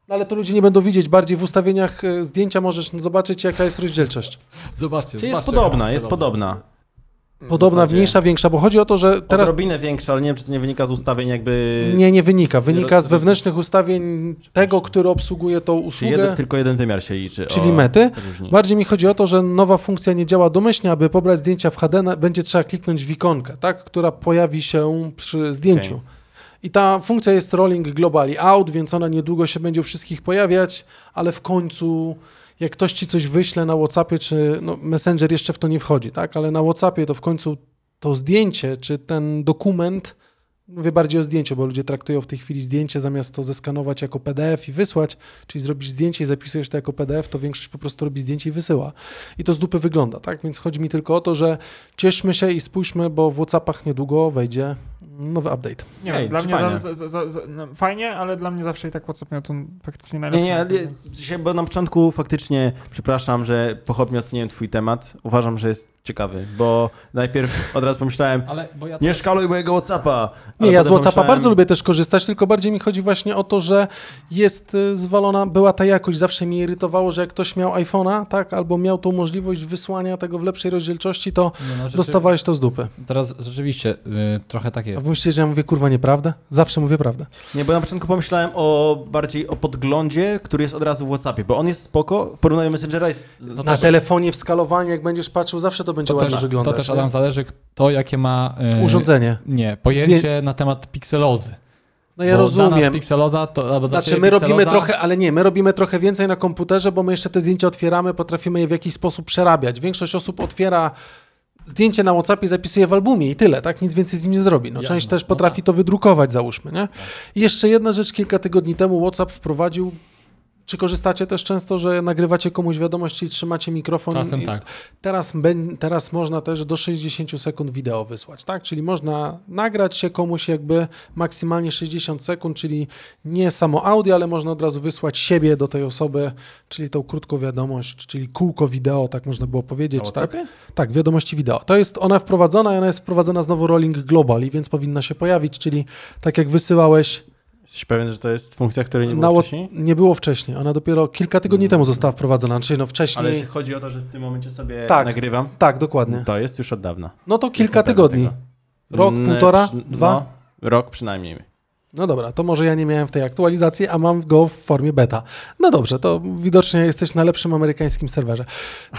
S1: No ale to ludzie nie będą widzieć, bardziej w ustawieniach e, zdjęcia możesz zobaczyć, jaka jest rozdzielczość.
S4: Zobaczcie,
S2: Czyli jest
S4: zobaczcie,
S2: podobna,
S4: jak
S2: jest
S4: celowo.
S2: podobna.
S3: No,
S1: Podobna,
S2: zasadzie-
S1: mniejsza, większa, bo chodzi o to, że
S2: Teraz...
S1: teraz
S2: Odrobinę większa, ale nie wiem, czy to nie wynika z ustawień jakby...
S1: nie, nie wynika. Wynika z
S2: rozumiem.
S1: wewnętrznych ustawień tego, który obsługuje tą
S2: Czy jeden,
S1: usługę,
S2: tylko jeden wymiar się liczy.
S1: czyli
S2: o,
S1: mety.
S2: Różni.
S1: Bardziej mi chodzi o to, że nowa funkcja nie działa domyślnie, aby pobrać zdjęcia w HD, na- będzie trzeba kliknąć w ikonkę, tak, która pojawi się przy zdjęciu.
S2: Okej.
S1: I ta funkcja jest rolling globally out, więc ona niedługo się będzie u wszystkich pojawiać, ale w końcu jak ktoś ci coś wyśle na WhatsAppie, czy no, Messenger jeszcze w to nie wchodzi, tak, ale na WhatsAppie to w końcu to zdjęcie, czy ten dokument, mówię bardziej o zdjęciu, bo ludzie traktują w tej chwili zdjęcie zamiast to zeskanować jako PDF i wysłać, czyli zrobisz zdjęcie i zapisujesz to jako PDF, to większość po prostu robi zdjęcie i wysyła. I to z dupy wygląda, tak? Więc chodzi mi tylko o to, że cieszmy się i spójrzmy, bo w WhatsAppach niedługo wejdzie nowy update.
S3: Nie
S2: Ej,
S3: wiem, dla
S2: czy
S3: mnie
S2: fajnie?
S3: za, za, za, za, no, fajnie, ale dla mnie zawsze i tak Whatsapp miał tu faktycznie
S2: Nie,
S3: najlepszy.
S2: nie, ale dzisiaj, bo na początku faktycznie przepraszam, że pochopnie oceniłem twój temat. Uważam, że jest ciekawy, bo najpierw od razu pomyślałem,
S4: Ale bo ja
S2: nie szkaluj mojego Whatsappa.
S1: Nie,
S2: Ale
S1: ja z
S2: potem
S1: WhatsAppa
S2: pomyślałem,
S1: bardzo lubię też korzystać, tylko bardziej mi chodzi właśnie o to, że jest y, zwalona, była ta jakość. Zawsze mnie irytowało, że jak ktoś miał iPhone'a, tak, albo miał tą możliwość wysłania tego w lepszej rozdzielczości, to
S4: nie, no, rzeczy-
S1: dostawałeś to z dupy.
S4: Teraz rzeczywiście y, trochę tak
S1: A
S4: jest.
S1: wy myślicie, że ja mówię, kurwa, nieprawdę? Zawsze mówię prawdę.
S2: Nie, bo na początku pomyślałem o bardziej o podglądzie, który jest od razu w Whatsappie, bo on jest spoko, w porównaniu Messengera jest... z-
S1: Na telefonie w skalowaniu, jak będziesz patrzył, zawsze to będzie
S4: To
S1: ładnie
S4: też, to
S1: wyglądać.
S4: też
S1: nie?
S4: Adam zależy kto jakie ma y,
S1: Urządzenie.
S4: Nie, pojęcie na temat pikselozy.
S1: No ja
S4: Bo Dla nas
S1: rozumiem.
S4: pikseloza to albo dla
S1: Znaczy,
S4: ciebie
S1: my robimy
S4: pikseloza-
S1: trochę, ale nie, my robimy trochę więcej na komputerze, bo my jeszcze te zdjęcia otwieramy, potrafimy je w jakiś sposób przerabiać. Większość osób otwiera zdjęcie na WhatsAppie i zapisuje w albumie i tyle, tak? Nic więcej z nim nie zrobi. No,
S4: Ja,
S1: część
S4: no,
S1: też
S4: no Tak.
S1: potrafi to wydrukować, załóżmy, nie? I jeszcze jedna rzecz, kilka tygodni temu WhatsApp wprowadził. Czy korzystacie też często, że nagrywacie komuś wiadomości i trzymacie mikrofon?
S4: Czasem
S1: i
S4: tak.
S1: Teraz, ben- teraz można też do 60 sekund wideo wysłać, tak? Czyli można nagrać się komuś jakby maksymalnie 60 sekund, czyli nie samo audio, ale można od razu wysłać siebie do tej osoby, czyli tą krótką wiadomość, czyli kółko wideo, tak można było powiedzieć, tak? Tak, wiadomości wideo. To jest ona wprowadzona i ona jest wprowadzona znowu Rolling Globally, więc powinna się pojawić, czyli tak jak wysyłałeś
S2: Jesteś pewien, że to jest funkcja, której nie
S1: na
S2: było
S1: Wha-
S2: wcześniej?
S1: Nie było wcześniej. Ona dopiero kilka tygodni temu została wprowadzona, czyli no wcześniej.
S2: Ale jeśli chodzi o to, że w tym momencie sobie
S1: Tak.
S2: nagrywam,
S1: Tak, dokładnie.
S2: to jest już od dawna.
S1: No to
S2: Jestem
S1: kilka
S2: pewien
S1: tygodni.
S2: tego.
S1: Rok,
S2: Ne-
S1: półtora,
S2: przy-
S1: dwa.
S2: No, rok przynajmniej.
S1: No dobra, to może ja nie miałem w tej aktualizacji, a mam go w formie beta. No dobrze, to widocznie jesteś na lepszym amerykańskim serwerze.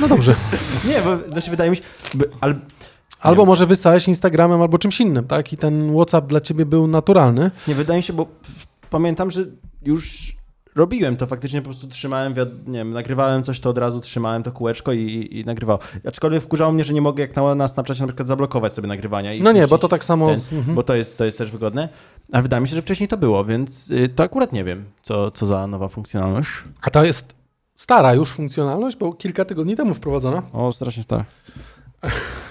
S1: No dobrze.
S2: Nie, bo znaczy wydaje mi się, by, ale
S1: Albo
S2: Nie.
S1: może wysłałeś Instagramem albo czymś innym, tak? I ten WhatsApp dla ciebie był naturalny.
S2: Nie, wydaje mi się, bo pamiętam, że już robiłem to faktycznie, po prostu trzymałem, wiad- nie wiem, nagrywałem coś, to od razu trzymałem to kółeczko i, i, i nagrywał. Aczkolwiek wkurzało mnie, że nie mogę jak na, na Snapchacie na przykład zablokować sobie nagrywania. I
S1: No nie,
S2: puścić
S1: bo to tak samo.
S2: ten,
S1: Z, mhm.
S2: Bo to jest, to jest też wygodne. Ale wydaje mi się, że wcześniej to było, więc y, to akurat nie wiem, co, co za nowa funkcjonalność.
S1: A to jest stara już funkcjonalność, bo kilka tygodni temu wprowadzona.
S2: O, strasznie stare.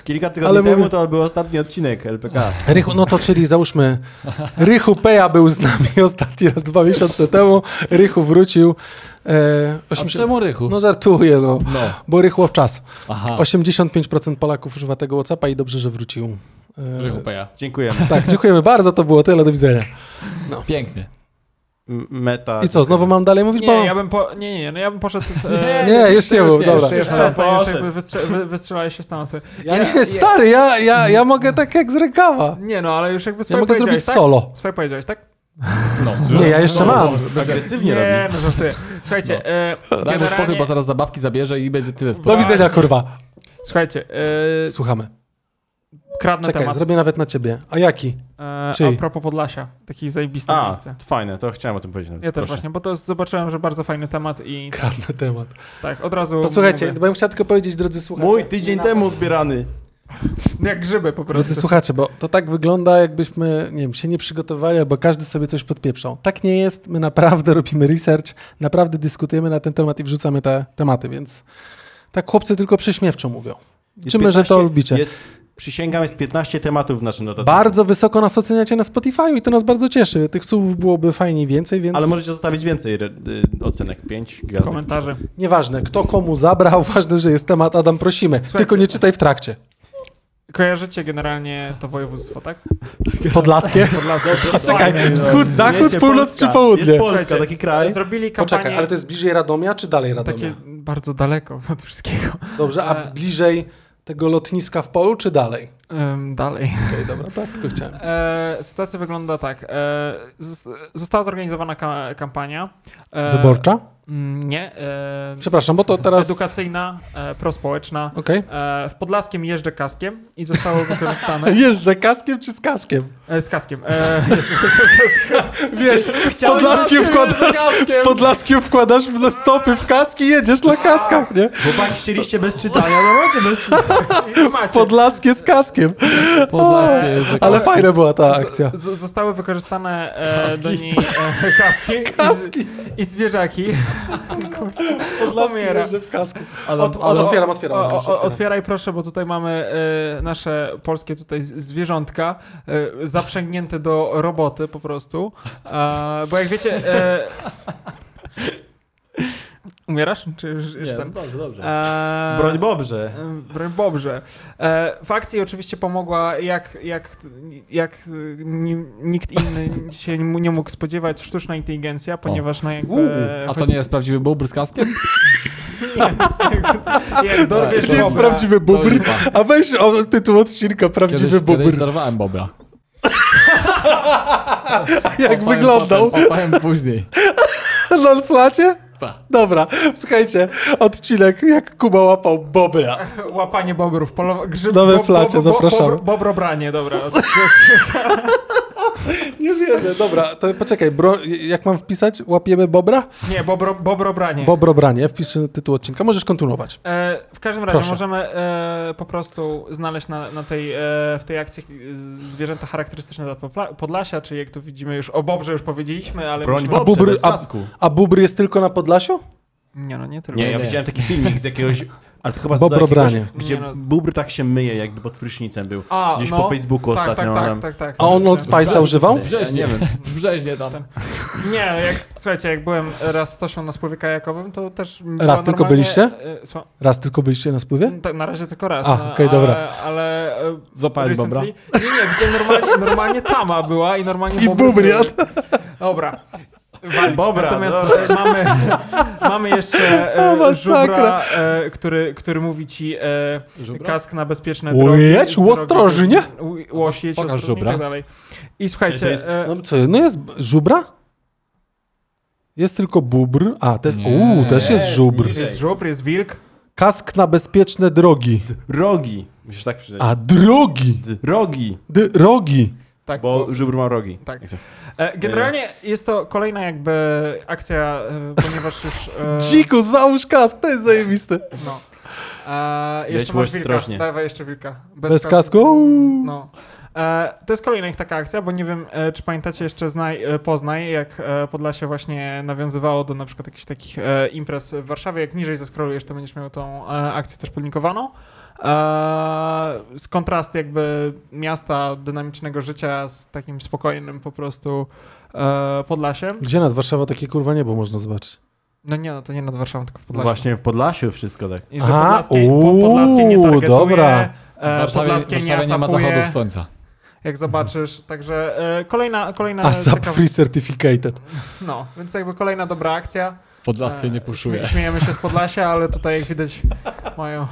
S2: Kilka tygodni
S1: Ale
S2: temu
S1: mówię-
S2: to był ostatni odcinek LPK.
S1: Rychu, no to czyli załóżmy, Rychu Peja był z nami ostatni raz dwa miesiące temu. Rychu wrócił. E,
S4: A
S1: 80...
S4: czemu Rychu?
S1: No żartuję, no.
S4: No.
S1: Bo Rychło w czas.
S4: Aha,
S1: 85% Polaków używa tego Whatsappa i dobrze, że wrócił. E,
S4: Rychu Peja.
S2: Dziękujemy.
S1: Tak, dziękujemy bardzo, to było tyle, do widzenia.
S4: Pięknie.
S2: M- Meta.
S1: I co, znowu mam dalej mówić? bo...
S3: Nie, ja bym po, nie, nie, nie, no ja bym poszedł... e,
S1: Nie, już nie
S3: już
S1: mów, dobra.
S3: Jeszcze, jeszcze,
S2: Dobra,
S3: zostań, jeszcze
S2: poszedł.
S3: jakby wystrze- wy- wystrzelałeś się stąd.
S1: Ja nie, stary, ja, ja, ja mogę tak jak z rękawa.
S3: Nie no, ale już jakby
S1: Ja
S3: swoje
S1: mogę zrobić
S3: powiedziałeś, tak?
S1: solo.
S3: Swoje powiedziałeś, tak?
S4: No.
S1: Nie, ja jeszcze mam.
S2: Agresywnie
S3: nie,
S2: robi.
S3: no żartuję. Słuchajcie, e,
S4: Daj mu
S3: tak
S4: spokój,
S3: generalnie,
S4: bo zaraz zabawki zabierze i będzie tyle
S1: Do
S4: spraw.
S1: widzenia, kurwa.
S3: słuchajcie, e,
S1: Słuchamy.
S3: kradnę
S1: Czekaj,
S3: temat.
S1: zrobię nawet na ciebie. A jaki?
S3: E,
S1: Czyj?
S3: a propos Podlasia, takie zajebiste
S2: A,
S3: miejsce.
S2: fajne, to chciałem o tym powiedzieć. Nawet.
S3: Ja też
S2: Proszę.
S3: właśnie, bo to zobaczyłem, że bardzo fajny temat i
S1: Kradnę temat.
S3: tak, od razu...
S1: To słuchajcie,
S3: mówię,
S1: bo ja bym chciał tylko powiedzieć, drodzy słuchacze.
S2: Mój tydzień temu zbierany.
S3: jak grzyby po
S1: Drodzy
S3: prostu.
S1: słuchacze, bo to tak wygląda, jakbyśmy, nie wiem, się nie przygotowali, albo każdy sobie coś podpieprzał. Tak nie jest, my naprawdę robimy research, naprawdę dyskutujemy na ten temat i wrzucamy te tematy, więc tak chłopcy tylko prześmiewczo mówią.
S2: Jest
S1: Czymy, że to
S2: 15
S1: lubicie.
S2: Jest, przysięgam, jest 15 tematów w naszym notatniku.
S1: Bardzo wysoko nas oceniacie na Spotify i to nas bardzo cieszy. Tych słów byłoby fajniej więcej, więc
S2: Ale możecie zostawić więcej re- y, ocenek. 5 gwiazdek.
S3: Komentarze.
S1: nieważne, kto komu zabrał, ważne, że jest temat, Adam, prosimy.
S3: Słuchajcie.
S1: Tylko nie czytaj w trakcie.
S3: Kojarzycie generalnie to województwo, tak?
S1: Podlaskie.
S3: Podlaskie.
S1: Czekaj, wschód, zachód,
S2: Wiecie,
S1: północ
S2: Polska.
S1: czy południe?
S2: Jest Polska,
S3: Słuchajcie,
S2: taki kraj.
S3: Zrobili kampanię...
S1: Poczekaj, ale to jest bliżej Radomia czy dalej Radomia?
S3: Takie bardzo daleko od wszystkiego.
S1: Dobrze, a
S3: E.
S1: bliżej tego lotniska w polu czy dalej?
S3: Em, dalej.
S1: Okej, dobra, tak, tylko chciałem.
S3: E, sytuacja wygląda tak. E, zos- została zorganizowana ka- kampania. E,
S1: Wyborcza?
S3: mm, Nie. E,
S1: Przepraszam, bo to teraz...
S3: Edukacyjna, e, prospołeczna.
S1: Okej.
S3: E, w Podlaskiem jeżdżę kaskiem i zostało wykorzystane.
S1: Jeżdżę kaskiem czy z kaskiem?
S3: E, z kaskiem. E,
S1: Wiesz, w Podlaskiem wkładasz, w Podlaskiem wkładasz na stopy w kaski i jedziesz na kaskach, nie?
S2: Chłopaki chcieliście bez czytania, no macie bez
S3: Macie.
S1: Podlaskie z kaskiem.
S4: Podlaskie jest
S1: Ale fajna była ta akcja.
S3: Z, zostały wykorzystane e, do niej e, kaski,
S1: Kaski.
S3: I, z, i zwierzaki.
S1: Podlaskie
S3: Umiera.
S1: jeżdżę w kasku.
S3: Od- od-
S1: Otwieram, otwieram.
S3: o, o,
S1: proszę,
S3: o,
S1: otwieram.
S3: otwieraj proszę, bo tutaj mamy e, nasze polskie tutaj z- zwierzątka e, zaprzęgnięte do roboty po prostu. E, bo jak wiecie... E, umierasz? Czy już, już ten?
S4: dobrze, dobrze.
S3: E,
S2: Broń Bobrze.
S3: E, Broń Bobrze. E, w akcji oczywiście pomogła, jak, jak, jak e, ni- nikt inny się mu nie mógł spodziewać, sztuczna inteligencja, ponieważ no jakby...
S4: A to nie jest prawdziwy bubr z kaskiem?
S3: Jak dorwiesz
S1: To nie jest
S3: Bobra-
S1: prawdziwy
S4: To
S1: bubr.
S4: lipa.
S1: A weź o tytuł odcinka,
S4: Kiedyś,
S1: prawdziwy
S4: kiedyś
S1: bubr.
S4: dorwałem bobra.
S1: Jak
S4: Łapałem
S1: wyglądał?
S4: Potem, łapałem później.
S1: Na flacie?
S4: Pa.
S1: No, Dobra, słuchajcie, odcinek jak Kuba łapał bobra.
S3: Łapanie bobrów, polo... grzyb...
S1: Nowe flacie, zapraszamy.
S3: bobro- Bobrobranie, dobra.
S1: Nie wierzę, dobra, to poczekaj, bro, jak mam wpisać? Łapiemy bobra?
S3: Nie, bobro, bobrobranie.
S1: Bobrobranie, wpiszę tytuł odcinka, możesz kontynuować.
S3: E, w każdym razie
S1: Proszę.
S3: możemy e, po prostu znaleźć na, na tej, e, w tej akcji z- zwierzęta charakterystyczne dla Popla- Podlasia, czyli jak tu widzimy już, o Bobrze już powiedzieliśmy, ale
S2: Broń
S3: musimy-
S1: A
S2: Bobrze,
S1: bubry-
S2: bez
S1: a-
S2: kasku.
S1: A bubr jest tylko na Podlasiu?
S3: Nie, no nie tylko.
S2: Nie, ja
S4: nie.
S2: widziałem taki filmik z jakiegoś. Ale to chyba z jakiegoś,
S1: Bobrobranie.
S2: gdzie
S3: Nie no.
S2: bubr tak się myje, jakby pod prysznicem był.
S3: A,
S2: Gdzieś
S3: no.
S2: po Facebooku
S3: tak,
S2: ostatnio. no.
S3: Tak, tak,
S2: Adam.
S3: tak, tak.
S1: A on Old Spice'a używał?
S4: W Brzeźnie,
S2: Ja nie wiem.
S4: w Brzeźnie tam.
S3: Nie, jak, słuchajcie, jak byłem raz z Tosią na spływie kajakowym, to też... była
S1: Raz tylko
S3: normalnie-
S1: byliście?
S3: e, sła-
S1: Raz tylko byliście na spływie?
S3: Tak, na razie tylko raz.
S1: A,
S3: no,
S1: okej, dobra.
S3: Ale... ale e,
S4: Złapałeś
S3: recently-
S4: bobra?
S3: Nie, nie, gdzie normalnie, normalnie tama była i normalnie...
S1: I
S3: bobry
S1: bubry,
S3: były.
S1: a
S3: Dobra. Walić.
S2: Bobra,
S3: Natomiast
S2: dobra.
S3: e, mamy, mamy jeszcze
S1: O,
S3: e,
S1: masakra.
S3: żubra, e, który, który mówi ci e, kask na bezpieczne
S1: Łoś,
S3: drogi. z drogi-
S1: ostrożnie.
S3: Ł- Łoś, jedź
S4: Pokaż
S3: ostrożnie i
S4: żubra.
S3: tak dalej. I słuchajcie...
S2: to jest-
S3: e,
S1: No co, no jest b- żubra? Jest tylko bubr, a, te,
S4: Nie.
S1: uuu, też jest
S2: Jest,
S1: żubr.
S2: niżej.
S3: Jest żubr, jest wilk.
S1: Kask na bezpieczne drogi.
S2: Rogi. Musisz tak przeczytać.
S1: A drogi!
S2: D- Rogi.
S1: Drogi!
S3: Tak,
S2: Bo żubr ma rogi.
S3: Tak.
S2: Jak chcesz.
S3: E, Generalnie jest to kolejna jakby akcja, e, ponieważ już... e,
S1: Dziku, załóż kask, to jest zajebiste.
S3: No. E,
S2: Jedź
S3: jeszcze
S2: możesz
S3: masz wilka.
S2: ostrożnie.
S3: Dawaj jeszcze wilka.
S1: Bez kasku. uuu.
S3: No. E, to jest kolejna ich taka akcja, bo nie wiem, e, czy pamiętacie jeszcze Znaj, e, Poznaj, jak e, Podlasie właśnie nawiązywało do na przykład jakichś takich e, imprez w Warszawie. Jak niżej zeskrolujesz, to będziesz miał tą e, akcję też podlinkowaną. E, z kontrast jakby miasta dynamicznego życia z takim spokojnym po prostu e, Podlasiem.
S1: Gdzie nad Warszawą takie kurwa niebo można zobaczyć?
S3: No nie, no to nie nad Warszawą, tylko w Podlasie.
S2: Właśnie w Podlasiu wszystko tak.
S3: I że
S1: Aha,
S3: Podlaskie, po-
S1: uuu,
S3: Podlaskie nie targetuje,
S1: dobra.
S4: W
S3: e,
S4: Warszawie, w
S3: Podlaskie nie
S4: Warszawie nie ma zachodów
S3: asapuje,
S4: słońca.
S3: jak zobaczysz. Także e, kolejna, kolejna
S1: ASAP
S3: ciekawa-
S1: Free Certificated.
S3: No, więc jakby kolejna dobra akcja.
S4: Podlaskie
S3: E,
S4: nie puszuje.
S3: śmie- Śmiejemy się z Podlasia, ale tutaj jak widać mają,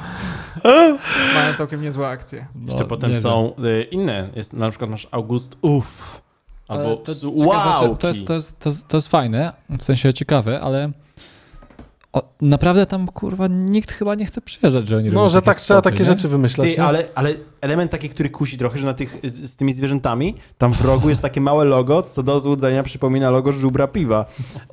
S3: mają całkiem niezłe akcje.
S4: No,
S2: Jeszcze potem
S4: nie wiem.
S2: są y, inne. Jest, na przykład masz August Uff. Albo
S4: Ale to, jest ciekawe,
S2: wow.
S4: że to, jest, to, jest, to, jest, to jest fajne, w sensie ciekawe, ale o, naprawdę tam kurwa nikt chyba nie chce przyjeżdżać, że oni robią
S1: No, że
S4: takie
S1: tak trzeba
S4: spoty,
S1: takie
S4: nie?
S1: rzeczy wymyślać.
S2: Ty,
S1: nie?
S2: ale, ale element taki, który kusi trochę, że na tych, z, z tymi zwierzętami, tam w rogu jest takie małe logo, co do złudzenia przypomina logo żubra piwa.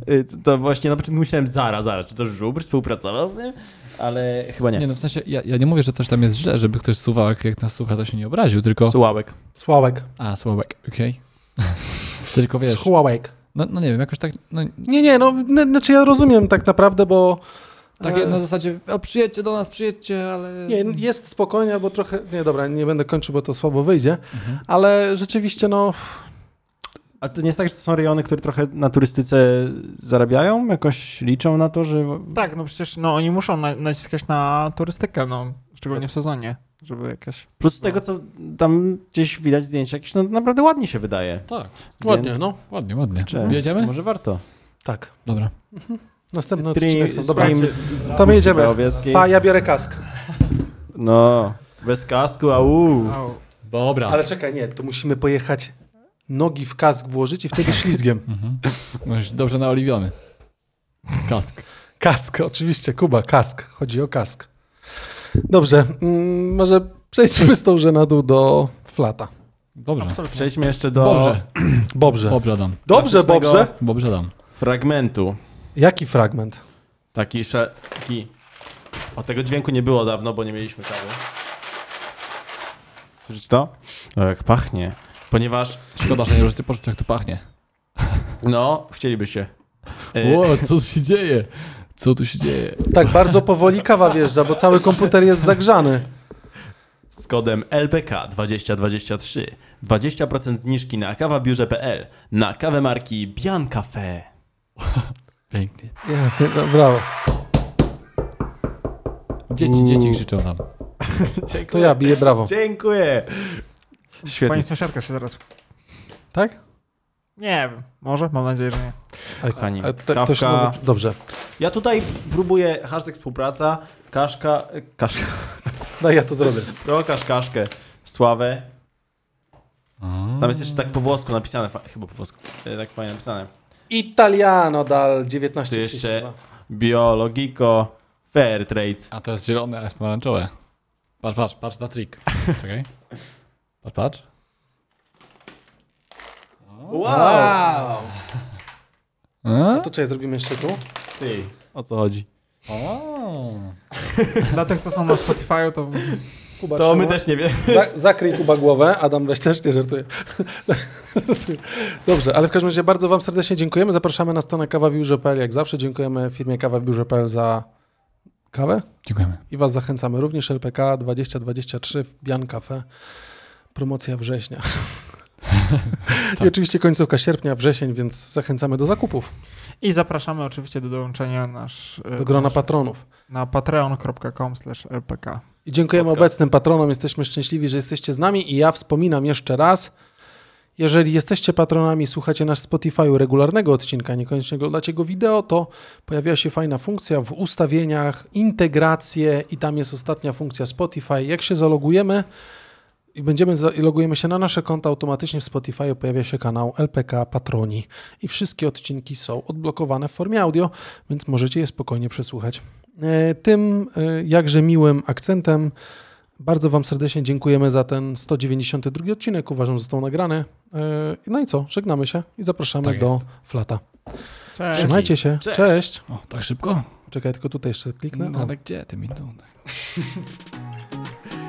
S2: Y, To, to właśnie na początku myślałem, zaraz, zaraz, czy to żubr współpracował z nim? Ale chyba nie.
S4: Nie no, w sensie ja, ja nie mówię, że coś tam jest źle, żeby ktoś suwał, jak, jak nas słucha, to się nie obraził, tylko...
S2: Sławek.
S1: Sławek.
S4: A, słowek, okej. tylko wiesz,
S1: Sławek.
S4: no, no nie wiem, jakoś tak, no,
S1: Nie, nie, no, n- znaczy ja rozumiem tak naprawdę, bo...
S4: takie
S1: e,
S4: na zasadzie, o, przyjedźcie do nas, przyjedźcie, ale...
S1: Nie, jest spokojnie, bo trochę. Nie, dobra, nie będę kończył, bo to słabo wyjdzie,
S4: Mhm.
S1: ale rzeczywiście, no.
S2: A to nie jest tak, że to są rejony, które trochę na turystyce zarabiają? Jakoś liczą na to, że...
S3: Tak, no przecież no, oni muszą na, naciskać na turystykę, no, szczególnie w sezonie, żeby jakaś...
S2: Plus z tego, co tam gdzieś widać zdjęcia, jakieś no, naprawdę ładnie się wydaje.
S4: Tak,
S1: Ładnie,
S2: Więc-
S1: no.
S4: ładnie, ładnie.
S2: Czy-
S4: Jedziemy?
S2: Może warto.
S1: Tak.
S4: Dobra.
S1: Następny
S2: Stream-
S1: odcinek są dobra.
S2: stream z-
S1: To my jedziemy.
S2: Białowieskiej.
S1: Pa, ja biorę kask.
S2: No, bez kasku, au.
S3: Au.
S4: Dobra.
S1: Ale czekaj, nie, to musimy pojechać nogi w kask włożyć i wtedy ślizgiem.
S4: Mhm. Możesz dobrze naoliwiony. Kask.
S1: Kask, oczywiście, Kuba, kask. Chodzi o kask. Dobrze, mm, może przejdźmy z tą żenadu do flata.
S4: Dobrze.
S2: Przejdźmy jeszcze do
S4: Dobrze,
S1: Dobrze.
S4: dobrze dam.
S1: Dobrze,
S2: Klasycznego-
S1: Bobrze.
S4: Dobrze dam.
S2: fragmentu.
S1: Jaki fragment?
S2: Taki, sze- taki... O, tego dźwięku nie było dawno, bo nie mieliśmy kawy. Słyszysz to? O, jak pachnie. Ponieważ,
S4: Szkoda, że nie możecie poczuć, jak to pachnie.
S2: no, chcielibyście. E,
S4: Ło, co tu się dzieje? Co tu się dzieje?
S1: Tak, bardzo powoli kawa wjeżdża, bo cały komputer jest zagrzany.
S2: z kodem LPK 2023 20% zniżki na kawabiurze.pl na kawę marki Bian Cafe.
S4: Pięknie.
S1: Ja, no, brawo.
S4: Dzieci, dzieci krzyczą tam.
S1: To ja biję brawo.
S2: Dziękuję.
S3: Pani sąsiadka się zaraz...
S1: Tak?
S3: Nie wiem, może? Mam nadzieję, że nie.
S1: Ej,
S2: Kochani,
S1: a to- to
S2: kawka-
S1: się nawet- Dobrze.
S2: Ja tutaj próbuję hashtag współpraca, kaszka, kaszka,
S1: Daj, No ja to zrobię.
S2: prokasz kaszkę, sławę. Tam jest jeszcze tak po włosku napisane, fa- chyba po włosku, e, tak fajnie napisane.
S1: Italiano dal
S2: Tu
S1: 1932.
S2: jeszcze biologico, fair trade.
S4: A to jest zielone, a jest pomarańczowe. Patrz, patrz, patrz na trik. Czekaj. Patrz, patrz.
S2: Wow!
S4: A?
S1: To czekaj, zrobimy jeszcze tu.
S2: Ty, o co chodzi?
S4: O.
S3: Dla tych, co są na Spotify, to
S1: Kuba,
S2: To my
S1: trzyma.
S2: też nie wiemy.
S1: Za, zakryj Kuba głowę, Adam weź też, nie żartuję. Żartuję. Dobrze, ale w każdym razie bardzo wam serdecznie dziękujemy. Zapraszamy na stronę kawawiurze.pl jak zawsze. Dziękujemy firmie kawawiurze.pl za kawę.
S4: Dziękujemy.
S1: I Was zachęcamy również LPK 2023 w Bian Cafe. Promocja września. I oczywiście końcówka sierpnia, wrzesień, więc zachęcamy do zakupów,
S3: I zapraszamy oczywiście do dołączenia nasz, e,
S1: do grona
S3: nasz-
S1: patronów.
S3: na patreon.com lpk.
S1: I dziękujemy
S2: Podcast.
S1: obecnym patronom, jesteśmy szczęśliwi, że jesteście z nami i ja wspominam jeszcze raz, jeżeli jesteście patronami, słuchacie nas w Spotify'u regularnego odcinka, niekoniecznie oglądacie go wideo, to pojawiła się fajna funkcja w ustawieniach, integracje i tam jest ostatnia funkcja Spotify. Jak się zalogujemy i będziemy za- i logujemy się na nasze konta, automatycznie w Spotify pojawia się kanał LPK Patroni i wszystkie odcinki są odblokowane w formie audio, więc możecie je spokojnie przesłuchać. E, Tym e, jakże miłym akcentem Bardzo Wam serdecznie dziękujemy za ten 192 odcinek. Uważam, że został nagrany. Yy, No i co? Żegnamy się i zapraszamy
S4: Tak
S1: do
S4: jest.
S1: flata.
S3: Cześć.
S1: Trzymajcie się.
S5: Cześć.
S1: Cześć.
S4: O, tak szybko?
S1: Czekaj, tylko tutaj jeszcze kliknę.
S4: No,
S1: O.
S4: ale gdzie ty mi tu?